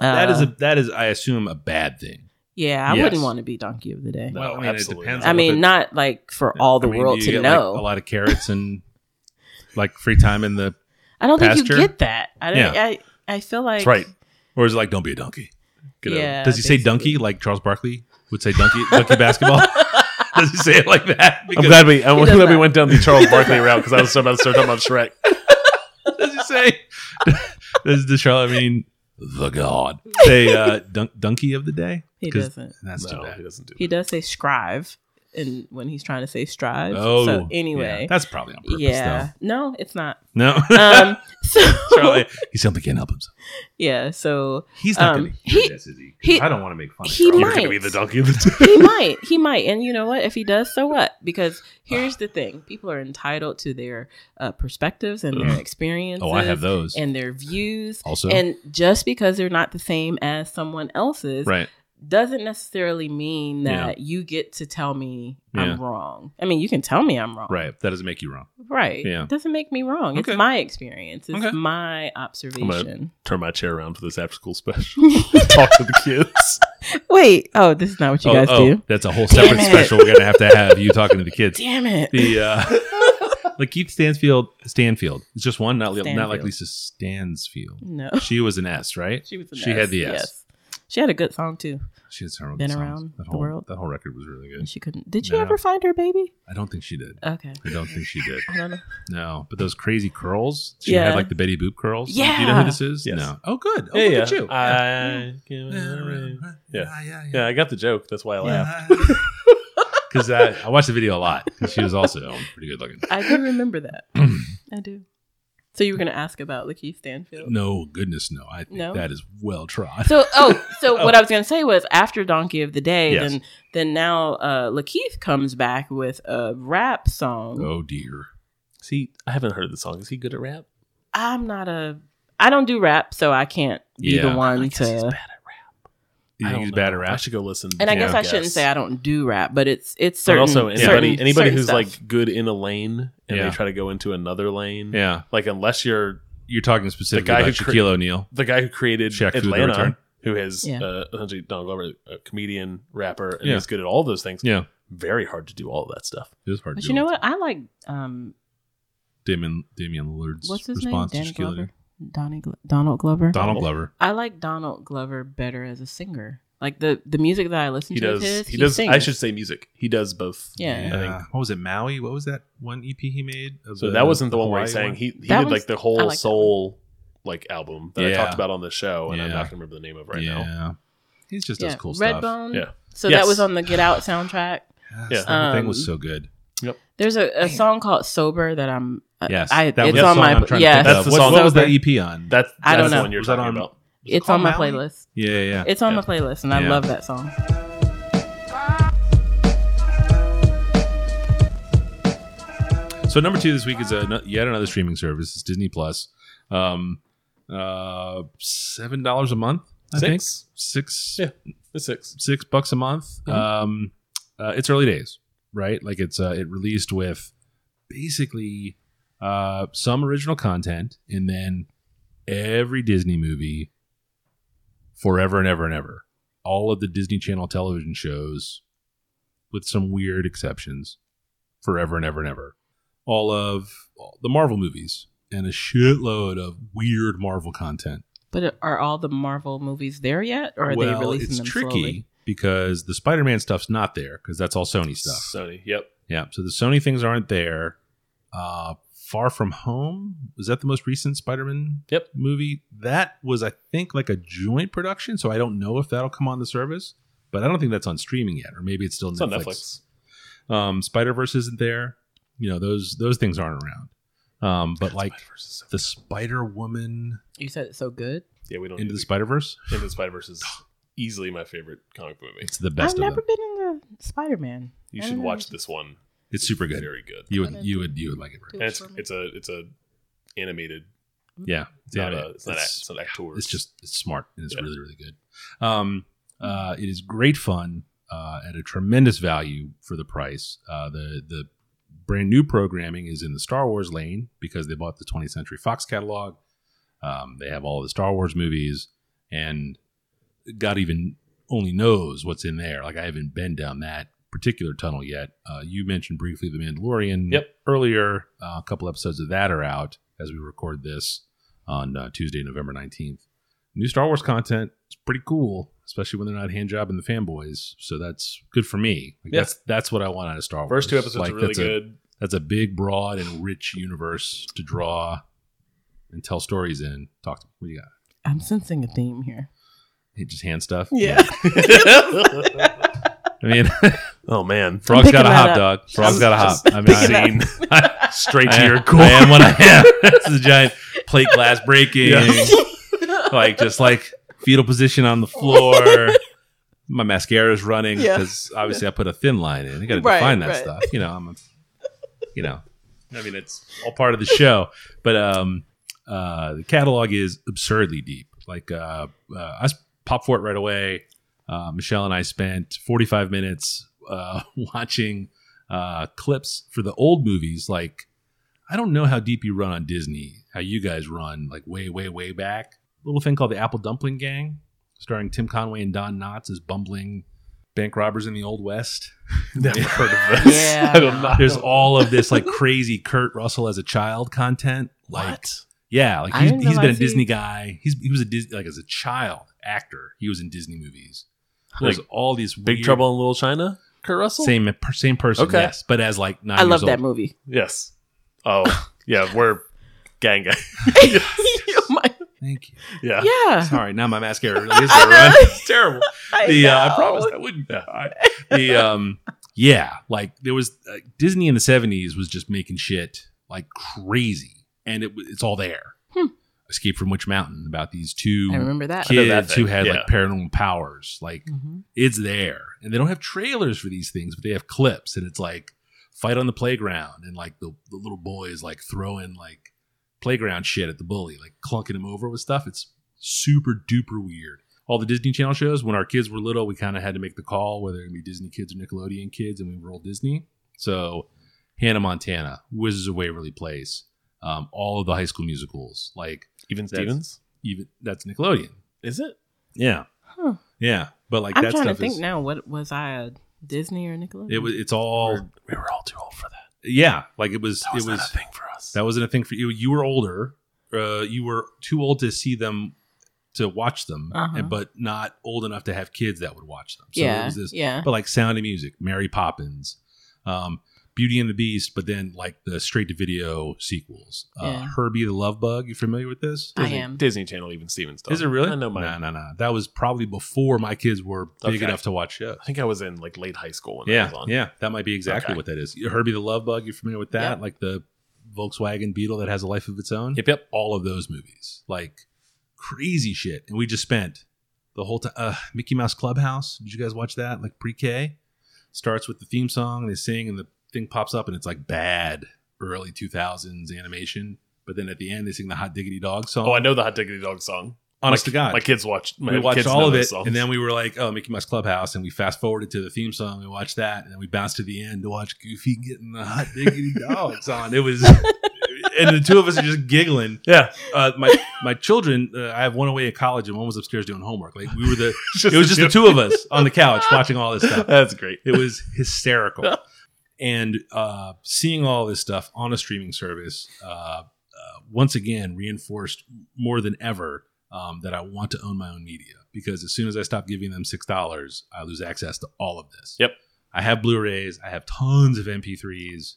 [SPEAKER 4] uh,
[SPEAKER 3] That is a that is I assume a bad thing.
[SPEAKER 4] yeah, I
[SPEAKER 3] Yes.
[SPEAKER 4] wouldn't want to be donkey of the day.
[SPEAKER 1] No,
[SPEAKER 3] Well, I mean, it
[SPEAKER 1] absolutely
[SPEAKER 3] depends
[SPEAKER 1] not.
[SPEAKER 4] I
[SPEAKER 3] on what the-
[SPEAKER 4] mean, not like for all the
[SPEAKER 3] I mean,
[SPEAKER 4] world
[SPEAKER 3] do
[SPEAKER 4] to
[SPEAKER 3] you get, like,
[SPEAKER 4] know.
[SPEAKER 3] a lot of carrots and like free time in the,
[SPEAKER 4] I don't think
[SPEAKER 3] pasture?
[SPEAKER 4] you get that. I don't.
[SPEAKER 3] Yeah.
[SPEAKER 4] I, I feel like
[SPEAKER 1] That's right.
[SPEAKER 3] or is it like don't be a donkey? over it.
[SPEAKER 4] Yeah,
[SPEAKER 3] Does he say donkey
[SPEAKER 4] basically.
[SPEAKER 3] like Charles Barkley would say donkey donkey basketball? Does he say it like that?
[SPEAKER 1] I'm
[SPEAKER 3] Because
[SPEAKER 1] glad we I'm
[SPEAKER 4] He does
[SPEAKER 1] glad we
[SPEAKER 4] that.
[SPEAKER 1] went down the Charles Barkley route because I was about to start talking about Shrek.
[SPEAKER 3] does he say does the Charlemagne the God say uh, dunk, donkey of the day?
[SPEAKER 4] He
[SPEAKER 3] 'Cause
[SPEAKER 4] doesn't.
[SPEAKER 3] That's too
[SPEAKER 1] No, he
[SPEAKER 3] bad.
[SPEAKER 1] doesn't do.
[SPEAKER 4] He does say scrive. and when he's trying to say strives.
[SPEAKER 3] Oh,
[SPEAKER 4] so
[SPEAKER 3] yeah.
[SPEAKER 4] anyway,
[SPEAKER 3] that's probably on
[SPEAKER 4] yeah,
[SPEAKER 3] purpose.
[SPEAKER 4] no, it's not.
[SPEAKER 3] though. no,
[SPEAKER 4] Um, so
[SPEAKER 3] Charlie, he simply can't help himself.
[SPEAKER 4] yeah, so
[SPEAKER 3] He's not
[SPEAKER 4] Um,
[SPEAKER 3] going to hear
[SPEAKER 4] he-
[SPEAKER 3] this, is he? 'Cause
[SPEAKER 4] he-
[SPEAKER 3] I don't want to make fun.
[SPEAKER 4] he
[SPEAKER 3] of Charlie.
[SPEAKER 1] You're gonna
[SPEAKER 4] might.
[SPEAKER 1] be the donkey of the
[SPEAKER 4] he might, he might, and you know what? If he does, so what? Because here's the thing: people are entitled to their uh, perspectives and their
[SPEAKER 3] Ugh.
[SPEAKER 4] experiences.
[SPEAKER 3] Oh, I have those
[SPEAKER 4] and their views.
[SPEAKER 3] also.
[SPEAKER 4] And just because they're not the same as someone else's
[SPEAKER 3] right.
[SPEAKER 4] doesn't necessarily mean
[SPEAKER 3] Yeah.
[SPEAKER 4] that you get to tell me
[SPEAKER 3] Yeah.
[SPEAKER 4] I'm wrong. I mean, you can tell me I'm wrong.
[SPEAKER 3] Right. That doesn't make you wrong.
[SPEAKER 4] Right.
[SPEAKER 3] Yeah.
[SPEAKER 4] Doesn't make me wrong.
[SPEAKER 3] Okay.
[SPEAKER 4] It's my experience. It's
[SPEAKER 3] Okay.
[SPEAKER 4] my observation.
[SPEAKER 1] Turn my chair around for this after school special. Talk to the kids.
[SPEAKER 4] Wait. Oh, this is not what you guys do.
[SPEAKER 3] that's a whole separate
[SPEAKER 4] Damn it.
[SPEAKER 3] special we're going to have to have you talking to the kids.
[SPEAKER 4] Damn it.
[SPEAKER 3] The uh like Keith Stansfield Stanfield. It's just one, not not like
[SPEAKER 4] Stanfield.
[SPEAKER 3] Lisa Stansfield.
[SPEAKER 4] no.
[SPEAKER 3] She was an S, right?
[SPEAKER 4] She was an
[SPEAKER 3] She
[SPEAKER 4] S,
[SPEAKER 3] had the S.
[SPEAKER 4] Yes. She had a good song too.
[SPEAKER 3] She had several
[SPEAKER 4] Been
[SPEAKER 3] good songs.
[SPEAKER 4] around
[SPEAKER 3] that
[SPEAKER 4] the
[SPEAKER 3] whole,
[SPEAKER 4] world.
[SPEAKER 3] That whole record was really
[SPEAKER 4] And
[SPEAKER 3] good.
[SPEAKER 4] she couldn't. Did you
[SPEAKER 3] No.
[SPEAKER 4] ever find her baby?
[SPEAKER 3] I don't think she did.
[SPEAKER 4] Okay.
[SPEAKER 3] I don't think she did.
[SPEAKER 4] I don't know.
[SPEAKER 3] No, but those crazy curls. She
[SPEAKER 4] Yeah.
[SPEAKER 3] had like the Betty Boop curls. Do you know
[SPEAKER 4] Yeah.
[SPEAKER 3] who this is?
[SPEAKER 1] Yes.
[SPEAKER 3] No. Oh, good. Oh,
[SPEAKER 1] Yeah,
[SPEAKER 3] look
[SPEAKER 1] yeah.
[SPEAKER 3] at you.
[SPEAKER 1] I
[SPEAKER 3] yeah. Yeah.
[SPEAKER 1] yeah, I got the joke. That's why I laughed.
[SPEAKER 3] Because I, I watched the video a lot. 'cause She was also pretty good looking.
[SPEAKER 4] I do remember that. I do. So you were going to ask about Lakeith Stanfield.
[SPEAKER 3] No, goodness, no. I think
[SPEAKER 4] No?
[SPEAKER 3] that is well trod.
[SPEAKER 4] So oh, so what I was gonna say was after Donkey of the Day,
[SPEAKER 3] Yes.
[SPEAKER 4] then then now uh Lakeith comes back with a rap song.
[SPEAKER 3] oh dear.
[SPEAKER 1] See, I haven't heard the song. Is he good at rap?
[SPEAKER 4] I'm not a I don't do rap, so I can't be
[SPEAKER 3] Yeah.
[SPEAKER 4] the one
[SPEAKER 1] I guess he's bad
[SPEAKER 4] to
[SPEAKER 1] at rap.
[SPEAKER 3] You
[SPEAKER 1] I
[SPEAKER 3] think
[SPEAKER 1] don't
[SPEAKER 3] he's
[SPEAKER 1] know.
[SPEAKER 3] bad at
[SPEAKER 1] I
[SPEAKER 3] rap?
[SPEAKER 1] should go listen.
[SPEAKER 4] and I
[SPEAKER 3] Yeah.
[SPEAKER 4] guess I shouldn't say I don't do rap, but it's it's
[SPEAKER 1] But
[SPEAKER 4] certain.
[SPEAKER 1] also anybody
[SPEAKER 4] certain-
[SPEAKER 1] anybody
[SPEAKER 4] certain
[SPEAKER 1] who's
[SPEAKER 4] stuff.
[SPEAKER 1] like good in a lane and
[SPEAKER 3] Yeah.
[SPEAKER 1] they try to go into another lane.
[SPEAKER 3] Yeah.
[SPEAKER 1] Like unless you're
[SPEAKER 3] You're talking specifically
[SPEAKER 1] guy
[SPEAKER 3] about
[SPEAKER 1] who
[SPEAKER 3] Shaquille
[SPEAKER 1] cre-
[SPEAKER 3] O'Neal.
[SPEAKER 1] the guy who created
[SPEAKER 3] Shaq Fu, The Return.
[SPEAKER 1] Atlanta, who has
[SPEAKER 4] Yeah.
[SPEAKER 1] uh, essentially Donald Glover, a comedian, rapper, and
[SPEAKER 3] Yeah.
[SPEAKER 1] he's good at all those things.
[SPEAKER 3] Yeah.
[SPEAKER 1] Very hard to do all of that stuff.
[SPEAKER 3] It was hard
[SPEAKER 4] But
[SPEAKER 3] to
[SPEAKER 4] you
[SPEAKER 3] do.
[SPEAKER 4] know what? I like um
[SPEAKER 3] Damian, Damian Lillard's
[SPEAKER 4] what's his name?
[SPEAKER 3] response
[SPEAKER 4] Danny
[SPEAKER 3] to Shaquille O'Neal.
[SPEAKER 4] Glover. Donnie Glo- Donald Glover.
[SPEAKER 3] Donald Glover.
[SPEAKER 4] I like Donald Glover better as a singer. Like the the music that I listen
[SPEAKER 1] He
[SPEAKER 4] to
[SPEAKER 1] does.
[SPEAKER 4] of his,
[SPEAKER 1] he, does. I
[SPEAKER 4] sings.
[SPEAKER 1] should say music. He does both.
[SPEAKER 4] Yeah.
[SPEAKER 1] I think.
[SPEAKER 3] What was it? Maui? What was that one EP he made? of
[SPEAKER 1] So that wasn't the one where he
[SPEAKER 3] Hawaii
[SPEAKER 1] sang. He he
[SPEAKER 4] That
[SPEAKER 1] did like
[SPEAKER 4] one's-
[SPEAKER 1] the
[SPEAKER 4] I
[SPEAKER 1] whole
[SPEAKER 4] like that
[SPEAKER 1] soul like album that I
[SPEAKER 3] Yeah.
[SPEAKER 1] talked about on the show, and I'm
[SPEAKER 3] Yeah.
[SPEAKER 1] not gonna remember the name of right
[SPEAKER 3] yeah.
[SPEAKER 1] now.
[SPEAKER 3] He's just
[SPEAKER 4] yeah.
[SPEAKER 3] does cool stuff.
[SPEAKER 4] Redbone.
[SPEAKER 1] Yeah.
[SPEAKER 4] So
[SPEAKER 1] Yes.
[SPEAKER 4] that was on the Get Out soundtrack.
[SPEAKER 3] Yeah.
[SPEAKER 1] Yeah.
[SPEAKER 3] The whole thing
[SPEAKER 4] Um,
[SPEAKER 3] was so good.
[SPEAKER 4] There's a, a song called "Sober" that I'm. uh,
[SPEAKER 3] Yes.
[SPEAKER 4] I,
[SPEAKER 3] that
[SPEAKER 4] it's
[SPEAKER 3] was the
[SPEAKER 4] on
[SPEAKER 3] song
[SPEAKER 4] my.
[SPEAKER 3] I'm trying
[SPEAKER 4] yes,
[SPEAKER 3] to think
[SPEAKER 1] That's
[SPEAKER 3] of.
[SPEAKER 1] the
[SPEAKER 3] What,
[SPEAKER 1] song.
[SPEAKER 3] what was
[SPEAKER 1] Sober.
[SPEAKER 3] that EP on?
[SPEAKER 1] That's that's
[SPEAKER 4] I don't
[SPEAKER 1] the
[SPEAKER 4] know.
[SPEAKER 1] one you're
[SPEAKER 3] Was that
[SPEAKER 1] talking
[SPEAKER 3] on-
[SPEAKER 1] about.
[SPEAKER 4] it's on my
[SPEAKER 3] Called Maui?
[SPEAKER 4] playlist.
[SPEAKER 3] yeah, yeah, yeah.
[SPEAKER 4] It's on
[SPEAKER 1] Yeah.
[SPEAKER 4] my playlist, and I
[SPEAKER 3] Yeah.
[SPEAKER 4] love that song.
[SPEAKER 3] So number two this week is a, yet another streaming service. It's Disney Plus. Um, uh, seven dollars a month. I think
[SPEAKER 1] Six.
[SPEAKER 3] six
[SPEAKER 1] Yeah. It's six.
[SPEAKER 3] six bucks a month. Um, uh, it's early days, right? Like it's uh, it released with basically uh, some original content, and then every Disney movie forever and ever and ever. All of the Disney Channel television shows, with some weird exceptions, forever and ever and ever. All of the Marvel movies and a shitload of weird Marvel content
[SPEAKER 4] But are all the Marvel movies there yet, or are they releasing
[SPEAKER 3] it's
[SPEAKER 4] them
[SPEAKER 3] tricky
[SPEAKER 4] slowly?
[SPEAKER 3] because the Spider-Man stuff's not there because that's all Sony stuff.
[SPEAKER 1] Sony. Yep.
[SPEAKER 3] Yeah, so the Sony things aren't there. Uh, Far From Home was that the most recent Spider-Man
[SPEAKER 1] Yep.
[SPEAKER 3] movie? That was, I think, like a joint production. So I don't know if that'll come on the service, but I don't think that's on streaming yet, or maybe it's still
[SPEAKER 1] It's on
[SPEAKER 3] Netflix.
[SPEAKER 1] Netflix.
[SPEAKER 3] Um, Spider-Verse isn't there. You know those those things aren't around. Um, but like
[SPEAKER 1] Spider-Verse is so-
[SPEAKER 3] the Spider Woman
[SPEAKER 4] You said it's so good.
[SPEAKER 1] yeah, we don't
[SPEAKER 3] into
[SPEAKER 1] into
[SPEAKER 3] the Spider Verse,
[SPEAKER 1] the, into the Spider Verse is easily my favorite comic movie.
[SPEAKER 3] it's the
[SPEAKER 4] I've
[SPEAKER 3] best of
[SPEAKER 4] never
[SPEAKER 3] them.
[SPEAKER 4] been in the Spider-Man.
[SPEAKER 1] You
[SPEAKER 4] I
[SPEAKER 1] should
[SPEAKER 4] don't know.
[SPEAKER 1] watch this one.
[SPEAKER 3] It's super good.
[SPEAKER 1] Very good.
[SPEAKER 3] You would you would you would like it. Very
[SPEAKER 1] And it's it's a it's a animated.
[SPEAKER 3] Yeah,
[SPEAKER 1] It's not,
[SPEAKER 3] animated.
[SPEAKER 1] a, it's, not a, it's not actor.
[SPEAKER 3] it's just it's smart and it's
[SPEAKER 1] Yeah.
[SPEAKER 3] really really good. Um, uh, it is great fun uh, at a tremendous value for the price. Uh, the the brand new programming is in the Star Wars lane because they bought the 20th Century Fox catalog. Um, they have all the Star Wars movies, and God even only knows what's in there. Like I haven't been down that particular tunnel yet. Uh, you mentioned briefly the Mandalorian
[SPEAKER 1] Yep.
[SPEAKER 3] earlier. Uh, a couple episodes of that are out as we record this on uh, Tuesday, November 19th. New Star Wars content is pretty cool, especially when they're not hand jobbing the fanboys. So that's good for me. Like,
[SPEAKER 1] Yeah.
[SPEAKER 3] That's that's what I want out of Star Wars.
[SPEAKER 1] first two episodes
[SPEAKER 3] Like,
[SPEAKER 1] are really
[SPEAKER 3] that's a-
[SPEAKER 1] good.
[SPEAKER 3] that's a big, broad, and rich universe to draw and tell stories in. Talk to me. What do you got?
[SPEAKER 4] I'm sensing a theme here.
[SPEAKER 3] Hey, Just hand stuff.
[SPEAKER 4] Yeah.
[SPEAKER 3] I mean,
[SPEAKER 1] Oh man,
[SPEAKER 3] Frog's
[SPEAKER 4] picking
[SPEAKER 3] got a
[SPEAKER 4] that
[SPEAKER 3] hop,
[SPEAKER 4] up.
[SPEAKER 3] dog. Frog's got a hop. I mean,
[SPEAKER 4] picking
[SPEAKER 3] I-
[SPEAKER 4] that-
[SPEAKER 1] Scene. straight
[SPEAKER 3] I
[SPEAKER 1] to
[SPEAKER 3] am-
[SPEAKER 1] your core.
[SPEAKER 3] I am what I am. this is a giant plate glass breaking, like just like fetal position on the floor. My mascara's running
[SPEAKER 4] Yeah.
[SPEAKER 3] because obviously I put a thin line in. I got to
[SPEAKER 4] Right,
[SPEAKER 3] define that
[SPEAKER 4] right.
[SPEAKER 3] stuff. You know, I'm, a, you know, I mean it's all part of the show. But um, uh, the catalog is absurdly deep. Like uh, uh, I s- popped for it right away. Uh, Michelle and I spent 45 minutes uh, watching uh, clips for the old movies. Like, I don't know how deep you run on Disney, how you guys run, like way, way, way back. little thing called the Apple Dumpling Gang, starring Tim Conway and Don Knotts as bumbling bank robbers in the Old West.
[SPEAKER 1] Never heard of this.
[SPEAKER 4] Yeah.
[SPEAKER 1] I will not-
[SPEAKER 3] There's all of this like crazy Kurt Russell as a child content. Like,
[SPEAKER 1] What?
[SPEAKER 3] yeah, like
[SPEAKER 4] I
[SPEAKER 3] he's,
[SPEAKER 4] didn't
[SPEAKER 3] he's been a
[SPEAKER 4] realize he-
[SPEAKER 3] Disney guy. He's he was a Disney like as a child actor. He was in Disney movies. There's
[SPEAKER 1] Like,
[SPEAKER 3] all these
[SPEAKER 1] Big
[SPEAKER 3] weird-
[SPEAKER 1] Trouble in Little China. Kurt Russell.
[SPEAKER 3] Same per- same person.
[SPEAKER 1] Okay.
[SPEAKER 3] Yes, but as like nine.
[SPEAKER 4] I love
[SPEAKER 3] years
[SPEAKER 4] that
[SPEAKER 3] old.
[SPEAKER 4] movie.
[SPEAKER 1] Yes. Oh yeah, we're gang gang.
[SPEAKER 4] Oh my-
[SPEAKER 3] Thank you.
[SPEAKER 1] Yeah.
[SPEAKER 4] yeah.
[SPEAKER 3] Sorry, now my mascara really is
[SPEAKER 4] Uh-huh. I know.
[SPEAKER 3] running. It's terrible.
[SPEAKER 4] I
[SPEAKER 3] The uh, I
[SPEAKER 4] know.
[SPEAKER 3] promised I wouldn't. I- the um, yeah, like there was uh, Disney in the '70s was just making shit like crazy, and it w- it's all there.
[SPEAKER 4] Hmm.
[SPEAKER 3] Escape from Witch Mountain about these two
[SPEAKER 4] I remember that.
[SPEAKER 1] I know that
[SPEAKER 3] kids who
[SPEAKER 1] thing,
[SPEAKER 3] had
[SPEAKER 1] yeah.
[SPEAKER 3] like paranormal powers. Like
[SPEAKER 4] Mhm.
[SPEAKER 3] it's there, and they don't have trailers for these things, but they have clips, and it's like fight on the playground, and like the, the little boy is like throwing like playground shit at the bully, like clunking him over with stuff. It's super duper weird. All the Disney Channel shows. When our kids were little, we kind of had to make the call whether it be Disney kids or Nickelodeon kids, and we were all Disney. So Hannah Montana, Wizards of Waverly Place, um, all of the High School musicals, like
[SPEAKER 1] Even
[SPEAKER 3] That's-
[SPEAKER 1] Stevens.
[SPEAKER 3] even that's Nickelodeon.
[SPEAKER 1] Is it?
[SPEAKER 3] Yeah.
[SPEAKER 4] Huh.
[SPEAKER 3] Yeah. But like
[SPEAKER 4] I'm
[SPEAKER 3] that
[SPEAKER 4] trying to
[SPEAKER 3] stuff
[SPEAKER 4] think
[SPEAKER 3] is
[SPEAKER 4] now. What was I a Disney or Nickelodeon?
[SPEAKER 3] it was it's all
[SPEAKER 1] we were all too old for that.
[SPEAKER 3] yeah, like it was,
[SPEAKER 1] That was,
[SPEAKER 3] it was
[SPEAKER 1] not a thing for us.
[SPEAKER 3] that wasn't a thing for you. You were older. Uh, you were too old to see them to watch them,
[SPEAKER 4] Uh-huh.
[SPEAKER 3] and, but not old enough to have kids that would watch them. So it
[SPEAKER 4] yeah,
[SPEAKER 3] was this
[SPEAKER 4] yeah.
[SPEAKER 3] but like Sound of Music, Mary Poppins, um, Beauty and the Beast, but then like the straight to video sequels. Uh,
[SPEAKER 4] Yeah.
[SPEAKER 3] Herbie the Love Bug, you familiar with this?
[SPEAKER 4] I
[SPEAKER 1] Disney,
[SPEAKER 4] am.
[SPEAKER 1] Disney Channel. Even Stevens. Though.
[SPEAKER 3] Is it really?
[SPEAKER 1] I know my.
[SPEAKER 3] No, no, no. That was probably before my kids were big
[SPEAKER 1] Okay.
[SPEAKER 3] enough to watch shows.
[SPEAKER 1] I think I was in like late high school when that
[SPEAKER 3] Yeah,
[SPEAKER 1] was on.
[SPEAKER 3] yeah, that might be exactly
[SPEAKER 1] Okay.
[SPEAKER 3] what that is. Herbie the Love Bug, you familiar with that?
[SPEAKER 4] Yeah.
[SPEAKER 3] Like the Volkswagen Beetle that has a life of its own.
[SPEAKER 1] Yep. Yep.
[SPEAKER 3] All of those movies, like crazy shit, and we just spent the whole time. Uh, Mickey Mouse Clubhouse. Did you guys watch that? Like pre-K, starts with the theme song and they sing, and the thing pops up, and it's like bad early two thousands animation. But then at the end, they sing the Hot Diggity Dog song.
[SPEAKER 1] Oh, I know the Hot Diggity Dog song.
[SPEAKER 3] Honest
[SPEAKER 1] my,
[SPEAKER 3] to God,
[SPEAKER 1] my kids watched. My
[SPEAKER 3] we watched
[SPEAKER 1] kids
[SPEAKER 3] all
[SPEAKER 1] know
[SPEAKER 3] of
[SPEAKER 1] those
[SPEAKER 3] it,
[SPEAKER 1] songs.
[SPEAKER 3] and then we were like, "Oh, Mickey Mouse Clubhouse," and we fast forwarded to the theme song. We watched that, and then we bounced to the end to watch Goofy getting the hot diggity dogs on. It was, and the two of us are just giggling.
[SPEAKER 1] yeah,
[SPEAKER 3] Uh, my my children, uh, I have one away at college, and one was upstairs doing homework. Like we were the, it was just the two of us on the couch watching all this stuff.
[SPEAKER 1] That's great.
[SPEAKER 3] It was hysterical. and uh, seeing all this stuff on a streaming service, uh, uh, once again, reinforced more than ever um, that I want to own my own media because as soon as I stop giving them $6, I lose access to all of this.
[SPEAKER 1] Yep.
[SPEAKER 3] I have Blu rays, I have tons of MP3s.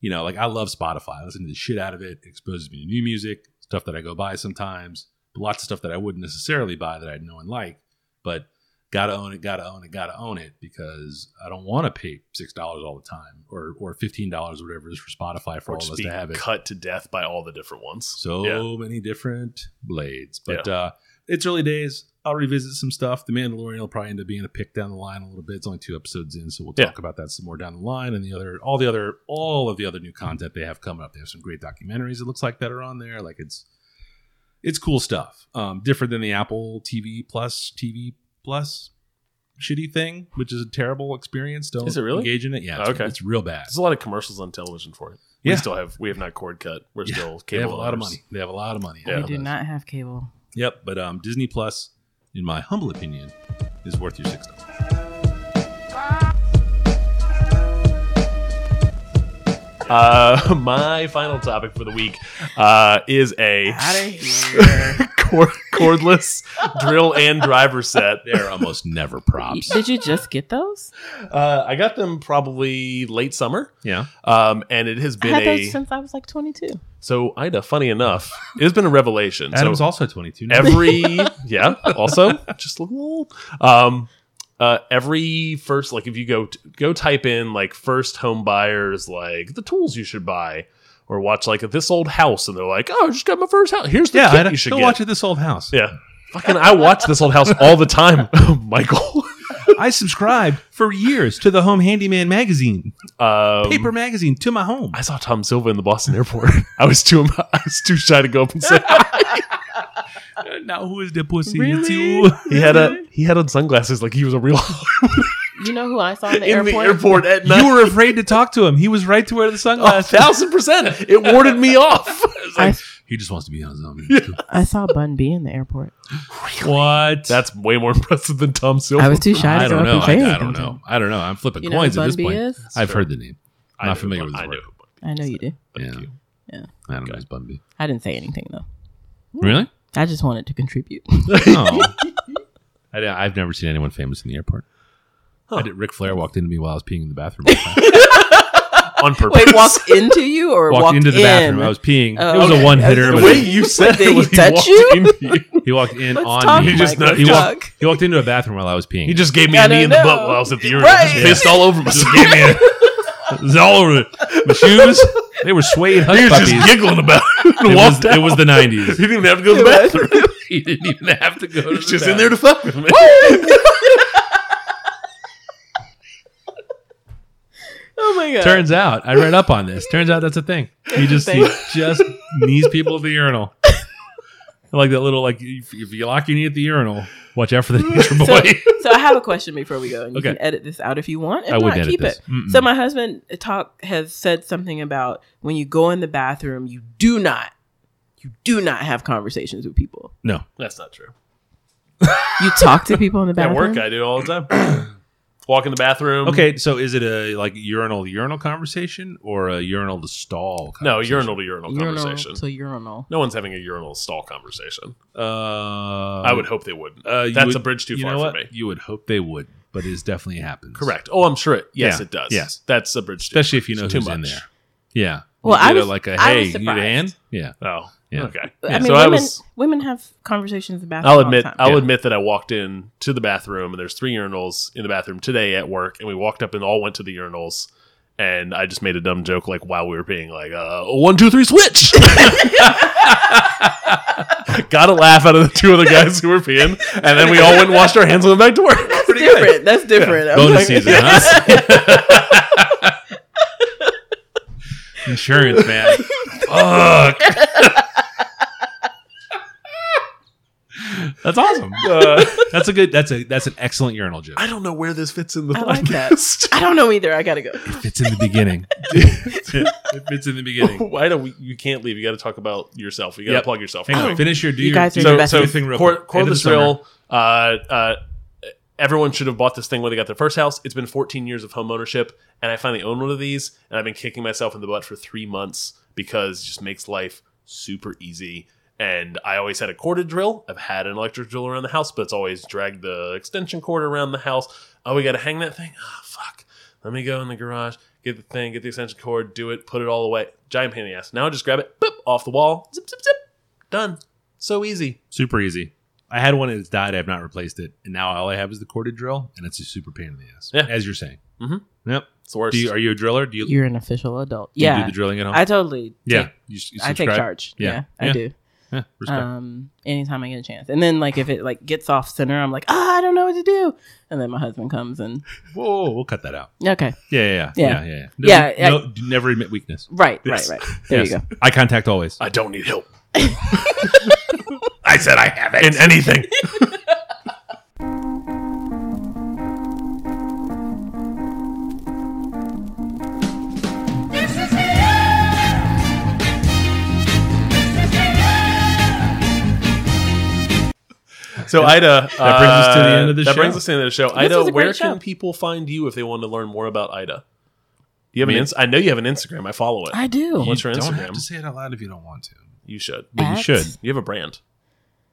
[SPEAKER 3] You know, like I love Spotify. I listen to the shit out of it. It exposes me to new music, stuff that I go buy sometimes, but lots of stuff that I wouldn't necessarily buy that I know and like. But gotta own it, gotta own it, gotta own it because I don't want to pay six dollars all the time or or fifteen dollars whatever it is for Spotify for
[SPEAKER 1] Or
[SPEAKER 3] all of
[SPEAKER 1] just
[SPEAKER 3] us
[SPEAKER 1] be
[SPEAKER 3] to have it.
[SPEAKER 1] cut to death by all the different ones.
[SPEAKER 3] So
[SPEAKER 1] yeah.
[SPEAKER 3] many different blades, but uh, it's early days. I'll revisit some stuff. The Mandalorian will probably end up being a pick down the line a little bit. It's only two episodes in, so we'll
[SPEAKER 1] Yeah.
[SPEAKER 3] talk about that some more down the line. And the other, all the other, all of the other new content they have coming up. They have some great documentaries. It looks like that are on there. Like it's, it's cool stuff. Um, different than the Apple TV Plus TV Plus shitty thing, which is a terrible experience. Don't
[SPEAKER 1] Is it really?
[SPEAKER 3] engage in it? Yeah.
[SPEAKER 1] Oh,
[SPEAKER 3] It's,
[SPEAKER 1] okay.
[SPEAKER 3] It's real bad.
[SPEAKER 1] There's a lot of commercials on television for it.
[SPEAKER 3] Yeah.
[SPEAKER 1] We still have we have not cord cut. We're
[SPEAKER 3] Yeah.
[SPEAKER 1] still
[SPEAKER 3] They
[SPEAKER 1] cable.
[SPEAKER 3] have a lot of
[SPEAKER 1] owners.
[SPEAKER 3] money. They have a lot of money.
[SPEAKER 1] Yeah.
[SPEAKER 4] we do not have cable.
[SPEAKER 3] Yep, but um, Disney Plus, in my humble opinion, is worth your six dollars.
[SPEAKER 1] Uh, my final topic for the week uh, is a
[SPEAKER 4] Outta here.
[SPEAKER 1] cord- cordless drill and driver set.
[SPEAKER 3] They're almost never props.
[SPEAKER 4] Did you just get those?
[SPEAKER 1] Uh, I got them probably late summer,
[SPEAKER 3] Yeah,
[SPEAKER 1] um, and it has
[SPEAKER 4] I
[SPEAKER 1] been
[SPEAKER 4] had
[SPEAKER 1] a
[SPEAKER 4] those since I was like 22.
[SPEAKER 1] so Ida. Funny enough, it has been a revelation. so
[SPEAKER 3] Adam's also twenty-two. Now.
[SPEAKER 1] every yeah, also just a little. old. Um, Uh, every first, like if you go go type in like first home buyers, like the tools you should buy, or watch like this old house, and they're like, oh, I just got my first house. Here's the
[SPEAKER 3] Yeah,
[SPEAKER 1] kit
[SPEAKER 3] I,
[SPEAKER 1] you should
[SPEAKER 3] go
[SPEAKER 1] get.
[SPEAKER 3] watch it this old house.
[SPEAKER 1] Yeah, fucking, I watch this old house all the time, Michael.
[SPEAKER 3] I subscribed for years to the Home Handyman magazine,
[SPEAKER 1] Um,
[SPEAKER 3] paper magazine to my home.
[SPEAKER 1] I saw Tom Silva in the Boston airport. I was too I was too shy to go up and say hi.
[SPEAKER 3] now who is the pussy?
[SPEAKER 4] It's Really? you.
[SPEAKER 1] he had a he had on sunglasses like he was a real
[SPEAKER 4] You know who I saw in the
[SPEAKER 1] in
[SPEAKER 4] airport?
[SPEAKER 1] the airport at night.
[SPEAKER 3] You were afraid to talk to him. He was right to wear the
[SPEAKER 1] a
[SPEAKER 3] sunglasses.
[SPEAKER 1] thousand percent. It warded me off.
[SPEAKER 4] I,
[SPEAKER 3] Oh, he just wants to be on his own.
[SPEAKER 4] I saw Bun B in the airport.
[SPEAKER 3] What?
[SPEAKER 1] That's way more impressive than Tom Silva.
[SPEAKER 4] I was too shy to
[SPEAKER 3] I
[SPEAKER 4] go up
[SPEAKER 3] don't know.
[SPEAKER 4] and
[SPEAKER 3] I,
[SPEAKER 4] say
[SPEAKER 3] I
[SPEAKER 4] anything
[SPEAKER 3] don't
[SPEAKER 4] to
[SPEAKER 3] know.
[SPEAKER 4] him.
[SPEAKER 3] I don't know. I'm flipping
[SPEAKER 4] You know
[SPEAKER 3] coins
[SPEAKER 4] who
[SPEAKER 3] at
[SPEAKER 4] Bun
[SPEAKER 3] this
[SPEAKER 4] B
[SPEAKER 3] point.
[SPEAKER 4] is?
[SPEAKER 3] I've
[SPEAKER 1] Sure.
[SPEAKER 3] heard the name.
[SPEAKER 1] I
[SPEAKER 3] not
[SPEAKER 1] know,
[SPEAKER 3] familiar
[SPEAKER 1] but
[SPEAKER 3] with his
[SPEAKER 1] I
[SPEAKER 3] work.
[SPEAKER 1] know.
[SPEAKER 4] I know you do.
[SPEAKER 1] Thank
[SPEAKER 3] Yeah.
[SPEAKER 1] you.
[SPEAKER 3] I don't know. It's Bun B.
[SPEAKER 4] I didn't say anything though.
[SPEAKER 3] Really?
[SPEAKER 4] I just wanted to contribute.
[SPEAKER 3] Oh. I, don't- I've never seen anyone famous in the airport. I did, Ric Flair walked into me while I was peeing in the bathroom. one time.
[SPEAKER 1] On purpose.
[SPEAKER 4] Wait, walked into you or
[SPEAKER 3] walked,
[SPEAKER 4] walked,
[SPEAKER 3] into the
[SPEAKER 4] in?
[SPEAKER 3] bathroom. I was peeing.
[SPEAKER 4] Oh,
[SPEAKER 3] it was
[SPEAKER 4] okay.
[SPEAKER 3] a one hitter.
[SPEAKER 1] the
[SPEAKER 3] but
[SPEAKER 1] way you said it
[SPEAKER 4] Did he
[SPEAKER 1] was he,
[SPEAKER 4] touch
[SPEAKER 1] walked
[SPEAKER 4] you?
[SPEAKER 1] into you.
[SPEAKER 3] He walked in
[SPEAKER 4] Let's
[SPEAKER 3] on
[SPEAKER 4] talk,
[SPEAKER 3] me.
[SPEAKER 1] He just-
[SPEAKER 4] Michael.
[SPEAKER 1] he
[SPEAKER 3] He
[SPEAKER 4] Talk.
[SPEAKER 3] walked, he walked into a bathroom while I was peeing.
[SPEAKER 1] He just gave me
[SPEAKER 4] I
[SPEAKER 1] a knee
[SPEAKER 4] don't
[SPEAKER 1] in the
[SPEAKER 4] know.
[SPEAKER 1] butt while I was at the urinal.
[SPEAKER 4] Right.
[SPEAKER 1] Just pissed all over myself.
[SPEAKER 3] gave me a, it was all over it. My shoes, they were suede
[SPEAKER 1] He
[SPEAKER 3] hush
[SPEAKER 1] was
[SPEAKER 3] puppies.
[SPEAKER 1] just giggling about it.
[SPEAKER 3] it,
[SPEAKER 1] and
[SPEAKER 3] was,
[SPEAKER 1] walked
[SPEAKER 3] it
[SPEAKER 1] out.
[SPEAKER 3] was the 90s.
[SPEAKER 1] He didn't have to go to the bathroom.
[SPEAKER 3] he didn't even have to go to
[SPEAKER 1] He's
[SPEAKER 3] the
[SPEAKER 1] just in
[SPEAKER 3] bathroom.
[SPEAKER 1] there to fuck with me.
[SPEAKER 4] Oh my god!
[SPEAKER 3] Turns out, I read up on this. Turns out that's a thing. You just you just knees people at the urinal. Like that little like if if you lock your knee at the urinal, watch out for the knees from
[SPEAKER 4] so,
[SPEAKER 3] boy.
[SPEAKER 4] so I have a question before we go, and you
[SPEAKER 3] Okay.
[SPEAKER 4] can edit this out if you want. If
[SPEAKER 3] I wouldn't
[SPEAKER 4] not,
[SPEAKER 3] edit
[SPEAKER 4] keep
[SPEAKER 3] this.
[SPEAKER 4] it.
[SPEAKER 3] Mm-mm.
[SPEAKER 4] So my husband uh, talk has said something about when you go in the bathroom, you do not, you do not have conversations with people.
[SPEAKER 3] No,
[SPEAKER 1] That's not true.
[SPEAKER 4] You talk to people in the
[SPEAKER 1] At
[SPEAKER 4] bathroom.
[SPEAKER 1] work, I do all the time. Walk in the bathroom.
[SPEAKER 3] Okay, so is it a like urinal to urinal conversation or a urinal to stall?
[SPEAKER 1] No,
[SPEAKER 3] conversation?
[SPEAKER 1] urinal to urinal
[SPEAKER 4] urinal
[SPEAKER 1] conversation.
[SPEAKER 4] to urinal.
[SPEAKER 1] No one's having a urinal stall conversation.
[SPEAKER 3] Uh,
[SPEAKER 1] I would hope they wouldn't.
[SPEAKER 3] uh, you
[SPEAKER 1] That's
[SPEAKER 3] would-
[SPEAKER 1] a bridge too
[SPEAKER 3] you
[SPEAKER 1] far
[SPEAKER 3] know
[SPEAKER 1] for
[SPEAKER 3] what?
[SPEAKER 1] me.
[SPEAKER 3] You would hope they would, but it's definitely happens.
[SPEAKER 1] Correct. Oh, I'm sure. It, yes,
[SPEAKER 3] Yeah.
[SPEAKER 1] it does.
[SPEAKER 3] Yes.
[SPEAKER 1] that's a bridge, too-
[SPEAKER 3] especially if you know
[SPEAKER 1] it's too
[SPEAKER 3] who's in
[SPEAKER 1] much.
[SPEAKER 3] there. Yeah.
[SPEAKER 4] Well,
[SPEAKER 3] You
[SPEAKER 4] I
[SPEAKER 3] get a,
[SPEAKER 4] was-
[SPEAKER 3] like a
[SPEAKER 4] I
[SPEAKER 3] hey,
[SPEAKER 4] was
[SPEAKER 3] you need a hand? Yeah.
[SPEAKER 1] Oh,
[SPEAKER 3] Yeah.
[SPEAKER 1] okay.
[SPEAKER 4] I mean,
[SPEAKER 1] so I
[SPEAKER 4] women,
[SPEAKER 1] was.
[SPEAKER 4] women have conversations in the bathroom.
[SPEAKER 1] I'll
[SPEAKER 4] all the
[SPEAKER 1] admit.
[SPEAKER 4] time.
[SPEAKER 1] I'll
[SPEAKER 3] Yeah.
[SPEAKER 1] admit that I walked in to the bathroom and there's three urinals in the bathroom today at work, and we walked up and all went to the urinals. And I just made a dumb joke like while we were being like, uh, one, two, three, switch. Got a laugh out of the two other guys who were peeing, and then we all went and washed our hands and went back to work.
[SPEAKER 4] That's different. That's different. I'm
[SPEAKER 3] Bonus
[SPEAKER 4] like-
[SPEAKER 3] season, huh? Insurance, man. Fuck. that's awesome.
[SPEAKER 1] Uh,
[SPEAKER 3] That's a good. That's a. That's an excellent urinal joke.
[SPEAKER 1] I don't know where this fits in the
[SPEAKER 4] I like that.
[SPEAKER 1] podcast.
[SPEAKER 4] I don't know either. I gotta go.
[SPEAKER 3] If it's in the beginning, if it's in the beginning,
[SPEAKER 1] Why don't we, you can't leave? You got to talk about yourself. You got to
[SPEAKER 3] Yep.
[SPEAKER 1] plug yourself.
[SPEAKER 3] Hang on,
[SPEAKER 1] Anyway,
[SPEAKER 3] finish your. Do
[SPEAKER 4] You
[SPEAKER 3] your,
[SPEAKER 4] guys
[SPEAKER 3] do
[SPEAKER 4] are
[SPEAKER 3] your
[SPEAKER 4] the best.
[SPEAKER 3] do your thing real
[SPEAKER 1] core,
[SPEAKER 3] quick.
[SPEAKER 1] core
[SPEAKER 3] End
[SPEAKER 1] of
[SPEAKER 3] of
[SPEAKER 1] the
[SPEAKER 3] summer.
[SPEAKER 1] thrill. Uh, uh, everyone should have bought this thing when they got their first house. It's been 14 years of home ownership, and I finally own one of these, and I've been kicking myself in the butt for three months because it just makes life super easy. And I always had a corded drill. I've had an electric drill around the house, but it's always dragged the extension cord around the house. Oh, we got to hang that thing. Ah, fuck. Let me go in the garage, get the thing, get the extension cord, do it, put it all away. Giant pain in the ass. Now I just grab it, boop, off the wall, zip, zip, zip. Done. So easy.
[SPEAKER 3] Super easy. I had one and it's died. I've not replaced it, and now all I have is the corded drill, and it's a super pain in the ass.
[SPEAKER 1] Yeah.
[SPEAKER 3] as you're saying.
[SPEAKER 1] Mhm.
[SPEAKER 3] Yep.
[SPEAKER 1] It's the worst.
[SPEAKER 3] Do you, are you a driller? Do you,
[SPEAKER 4] You're an official adult.
[SPEAKER 3] do you do
[SPEAKER 4] Yeah,
[SPEAKER 3] the drilling at home?
[SPEAKER 4] I totally.
[SPEAKER 3] yeah.
[SPEAKER 4] take-
[SPEAKER 3] You, s- you
[SPEAKER 4] I take
[SPEAKER 3] subscribe?
[SPEAKER 4] charge.
[SPEAKER 3] Yeah.
[SPEAKER 4] Yeah, I
[SPEAKER 3] Yeah.
[SPEAKER 4] do.
[SPEAKER 3] Yeah, respect.
[SPEAKER 4] Um, anytime I get a chance, and then like if it like gets off center, I'm like, ah, I don't know what to do, and then my husband comes and
[SPEAKER 3] Whoa, we'll cut that out.
[SPEAKER 4] okay,
[SPEAKER 3] Yeah, yeah, yeah,
[SPEAKER 4] Yeah.
[SPEAKER 3] yeah, yeah. yeah.
[SPEAKER 4] Yeah,
[SPEAKER 3] No, no, d- never admit weakness.
[SPEAKER 4] right,
[SPEAKER 1] Yes.
[SPEAKER 4] right, right. There you
[SPEAKER 3] Yes.
[SPEAKER 4] go.
[SPEAKER 3] Eye contact always.
[SPEAKER 1] I don't need help
[SPEAKER 3] I said I have it.
[SPEAKER 1] in anything. So Ida, that
[SPEAKER 3] brings us to the end of the
[SPEAKER 1] that
[SPEAKER 3] show.
[SPEAKER 1] brings us to the end of the show.
[SPEAKER 4] was
[SPEAKER 1] Ida,
[SPEAKER 4] a great
[SPEAKER 1] where
[SPEAKER 4] show.
[SPEAKER 1] can people find you if they want to learn more about Ida? Do you have
[SPEAKER 3] Me?
[SPEAKER 1] an? Ins- I know you have an Instagram. I follow it.
[SPEAKER 4] I do.
[SPEAKER 1] What's your
[SPEAKER 3] Don't have
[SPEAKER 1] Instagram?
[SPEAKER 3] to say it out loud if you don't want to.
[SPEAKER 1] you should.
[SPEAKER 3] But you
[SPEAKER 4] At-
[SPEAKER 3] should.
[SPEAKER 1] You have a brand.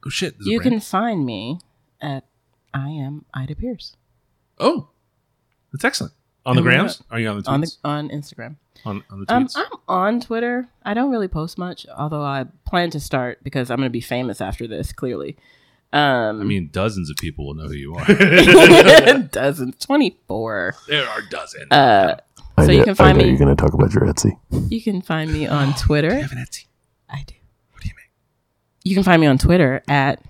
[SPEAKER 3] Oh shit. there's a
[SPEAKER 4] You
[SPEAKER 3] brand.
[SPEAKER 4] can find me at I am Ida Pierce
[SPEAKER 3] Oh, that's excellent. On the
[SPEAKER 4] And we're
[SPEAKER 3] grams? Are you on the tweets?
[SPEAKER 4] on the on Instagram.
[SPEAKER 3] on, on the
[SPEAKER 4] Um,
[SPEAKER 3] tweets.
[SPEAKER 4] I'm on Twitter. I don't really post much, although I plan to start because I'm going to be famous after this. Clearly, Um,
[SPEAKER 3] I mean, dozens of people will know who you are.
[SPEAKER 4] dozens, twenty four.
[SPEAKER 3] there are dozens.
[SPEAKER 4] Uh,
[SPEAKER 2] I
[SPEAKER 4] so you
[SPEAKER 2] know-
[SPEAKER 4] can find
[SPEAKER 2] I know
[SPEAKER 4] me.
[SPEAKER 2] You're going to talk about your Etsy.
[SPEAKER 4] You can find me on Twitter.
[SPEAKER 3] Etsy.
[SPEAKER 4] I do.
[SPEAKER 3] What do you mean?
[SPEAKER 4] You can find me on Twitter at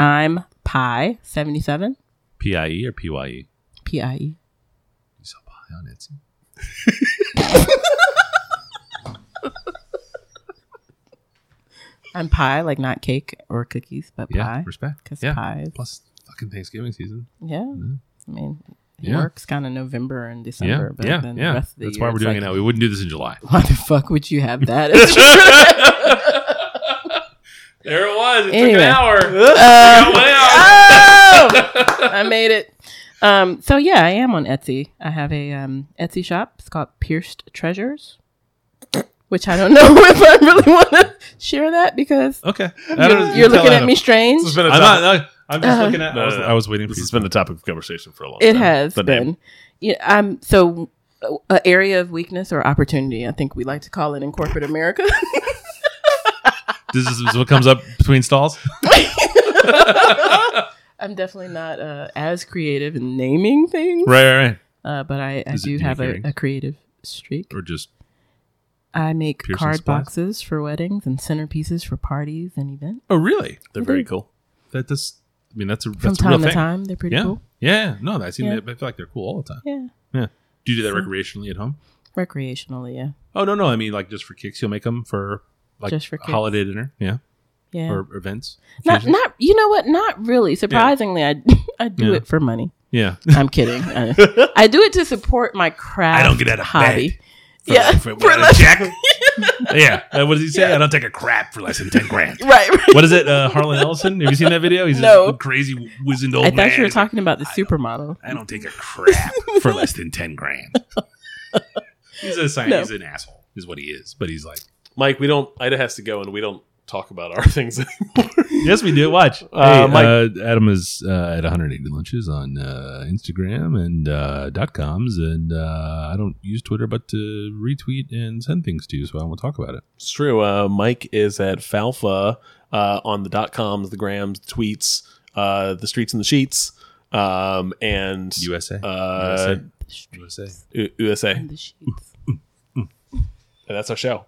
[SPEAKER 4] I'm Pie seventy seven
[SPEAKER 3] P I E or P Y E? You
[SPEAKER 4] P I E.
[SPEAKER 3] sell pie on Etsy.
[SPEAKER 4] I'm pie, like not cake or cookies, but
[SPEAKER 3] Yeah,
[SPEAKER 4] pie.
[SPEAKER 3] respect.
[SPEAKER 4] 'Cause
[SPEAKER 3] yeah.
[SPEAKER 4] pies.
[SPEAKER 3] Plus fucking Thanksgiving season.
[SPEAKER 4] Yeah, I mean, it
[SPEAKER 3] Mm-hmm. Yeah.
[SPEAKER 4] works kind of November and December, but
[SPEAKER 3] yeah, yeah,
[SPEAKER 4] then
[SPEAKER 3] yeah.
[SPEAKER 4] the rest of the
[SPEAKER 3] That's
[SPEAKER 4] year,
[SPEAKER 3] why we're
[SPEAKER 4] it's
[SPEAKER 3] doing
[SPEAKER 4] like,
[SPEAKER 3] it now. We wouldn't do this in July.
[SPEAKER 4] Why the fuck would you have that? It's just-
[SPEAKER 3] There it was. It
[SPEAKER 4] Anyway. Ah!
[SPEAKER 3] hour.
[SPEAKER 4] Oh! Um, I made it. Um, so yeah, I am on Etsy. I have a um, Etsy shop. It's called Pierced Treasures, which I don't know if I really want to share that because
[SPEAKER 3] Okay.
[SPEAKER 4] you're, you're looking at me strange.
[SPEAKER 1] This has been a
[SPEAKER 3] I'm
[SPEAKER 1] topic.
[SPEAKER 3] not. no, I'm just looking at. I,
[SPEAKER 1] No,
[SPEAKER 3] was,
[SPEAKER 1] no, no.
[SPEAKER 3] I was waiting for
[SPEAKER 1] This
[SPEAKER 3] you.
[SPEAKER 1] has been the topic of conversation for a long
[SPEAKER 4] It
[SPEAKER 1] time.
[SPEAKER 4] has
[SPEAKER 1] The name.
[SPEAKER 4] been. Yeah, I'm so an area of weakness or opportunity. I think we like to call it in corporate America.
[SPEAKER 3] this is what comes up between stalls.
[SPEAKER 4] I'm definitely not uh, as creative in naming things,
[SPEAKER 3] right, right, right.
[SPEAKER 4] uh, but I, I
[SPEAKER 3] Is it
[SPEAKER 4] do have a,
[SPEAKER 3] communicating?
[SPEAKER 4] a creative streak.
[SPEAKER 3] Or just
[SPEAKER 4] I make
[SPEAKER 3] Piercing
[SPEAKER 4] card
[SPEAKER 3] supplies?
[SPEAKER 4] boxes for weddings and centerpieces for parties and events.
[SPEAKER 3] oh, really?
[SPEAKER 1] They're very cool.
[SPEAKER 3] That this. I mean, that's a
[SPEAKER 4] From
[SPEAKER 3] that's a
[SPEAKER 4] time
[SPEAKER 3] real
[SPEAKER 4] to
[SPEAKER 3] thing.
[SPEAKER 4] time, they're pretty
[SPEAKER 3] Yeah,
[SPEAKER 4] cool.
[SPEAKER 3] yeah. No, I seen.
[SPEAKER 4] Yeah.
[SPEAKER 3] that- I feel like they're cool all the time.
[SPEAKER 4] Yeah,
[SPEAKER 3] Yeah. Do you do that recreationally at home?
[SPEAKER 4] recreationally. Yeah,
[SPEAKER 3] Oh no, no. I mean, like just for kicks, you'll make them for like
[SPEAKER 4] Just for kicks.
[SPEAKER 3] holiday dinner. Yeah,
[SPEAKER 4] yeah.
[SPEAKER 3] or events.
[SPEAKER 4] not,
[SPEAKER 3] occasions.
[SPEAKER 4] not. You know what? Not really. Surprisingly, I I do
[SPEAKER 3] Yeah.
[SPEAKER 4] it for money.
[SPEAKER 3] yeah.
[SPEAKER 4] I'm kidding. I, I do it to support my craft.
[SPEAKER 3] I don't get out of
[SPEAKER 4] hobby.
[SPEAKER 3] bed
[SPEAKER 4] yeah,
[SPEAKER 3] For- without a check. yeah. Uh, what does he say? I don't take a crap for less than ten grand.
[SPEAKER 4] right. right.
[SPEAKER 3] What is it, uh, Harlan Ellison? Have you seen that video? He's
[SPEAKER 4] No.
[SPEAKER 3] this crazy wizened old
[SPEAKER 4] I
[SPEAKER 3] Oh, man.
[SPEAKER 4] thought you were talking about the supermodel.
[SPEAKER 3] I don't take a crap for less than ten grand. he's a sign,
[SPEAKER 4] No.
[SPEAKER 3] he's an asshole, is what he is. But he's like,
[SPEAKER 1] Mike, we don't. Ida has to go, and we don't talk about our things anymore.
[SPEAKER 3] yes, we do. Watch.
[SPEAKER 1] Uh,
[SPEAKER 3] Hey,
[SPEAKER 1] Mike-
[SPEAKER 3] uh, Adam is uh, at 180 lunches on uh, Instagram and uh, dot coms, and uh, I don't use Twitter, but to retweet and send things to you, so I won't talk about it.
[SPEAKER 1] It's true. Uh, Mike is at Falfa uh, on the dot coms, the grams, the tweets, uh, the streets and the sheets, um, and
[SPEAKER 3] USA.
[SPEAKER 1] Uh,
[SPEAKER 3] USA. USA.
[SPEAKER 1] U- USA.
[SPEAKER 4] The sheets.
[SPEAKER 1] And that's our show.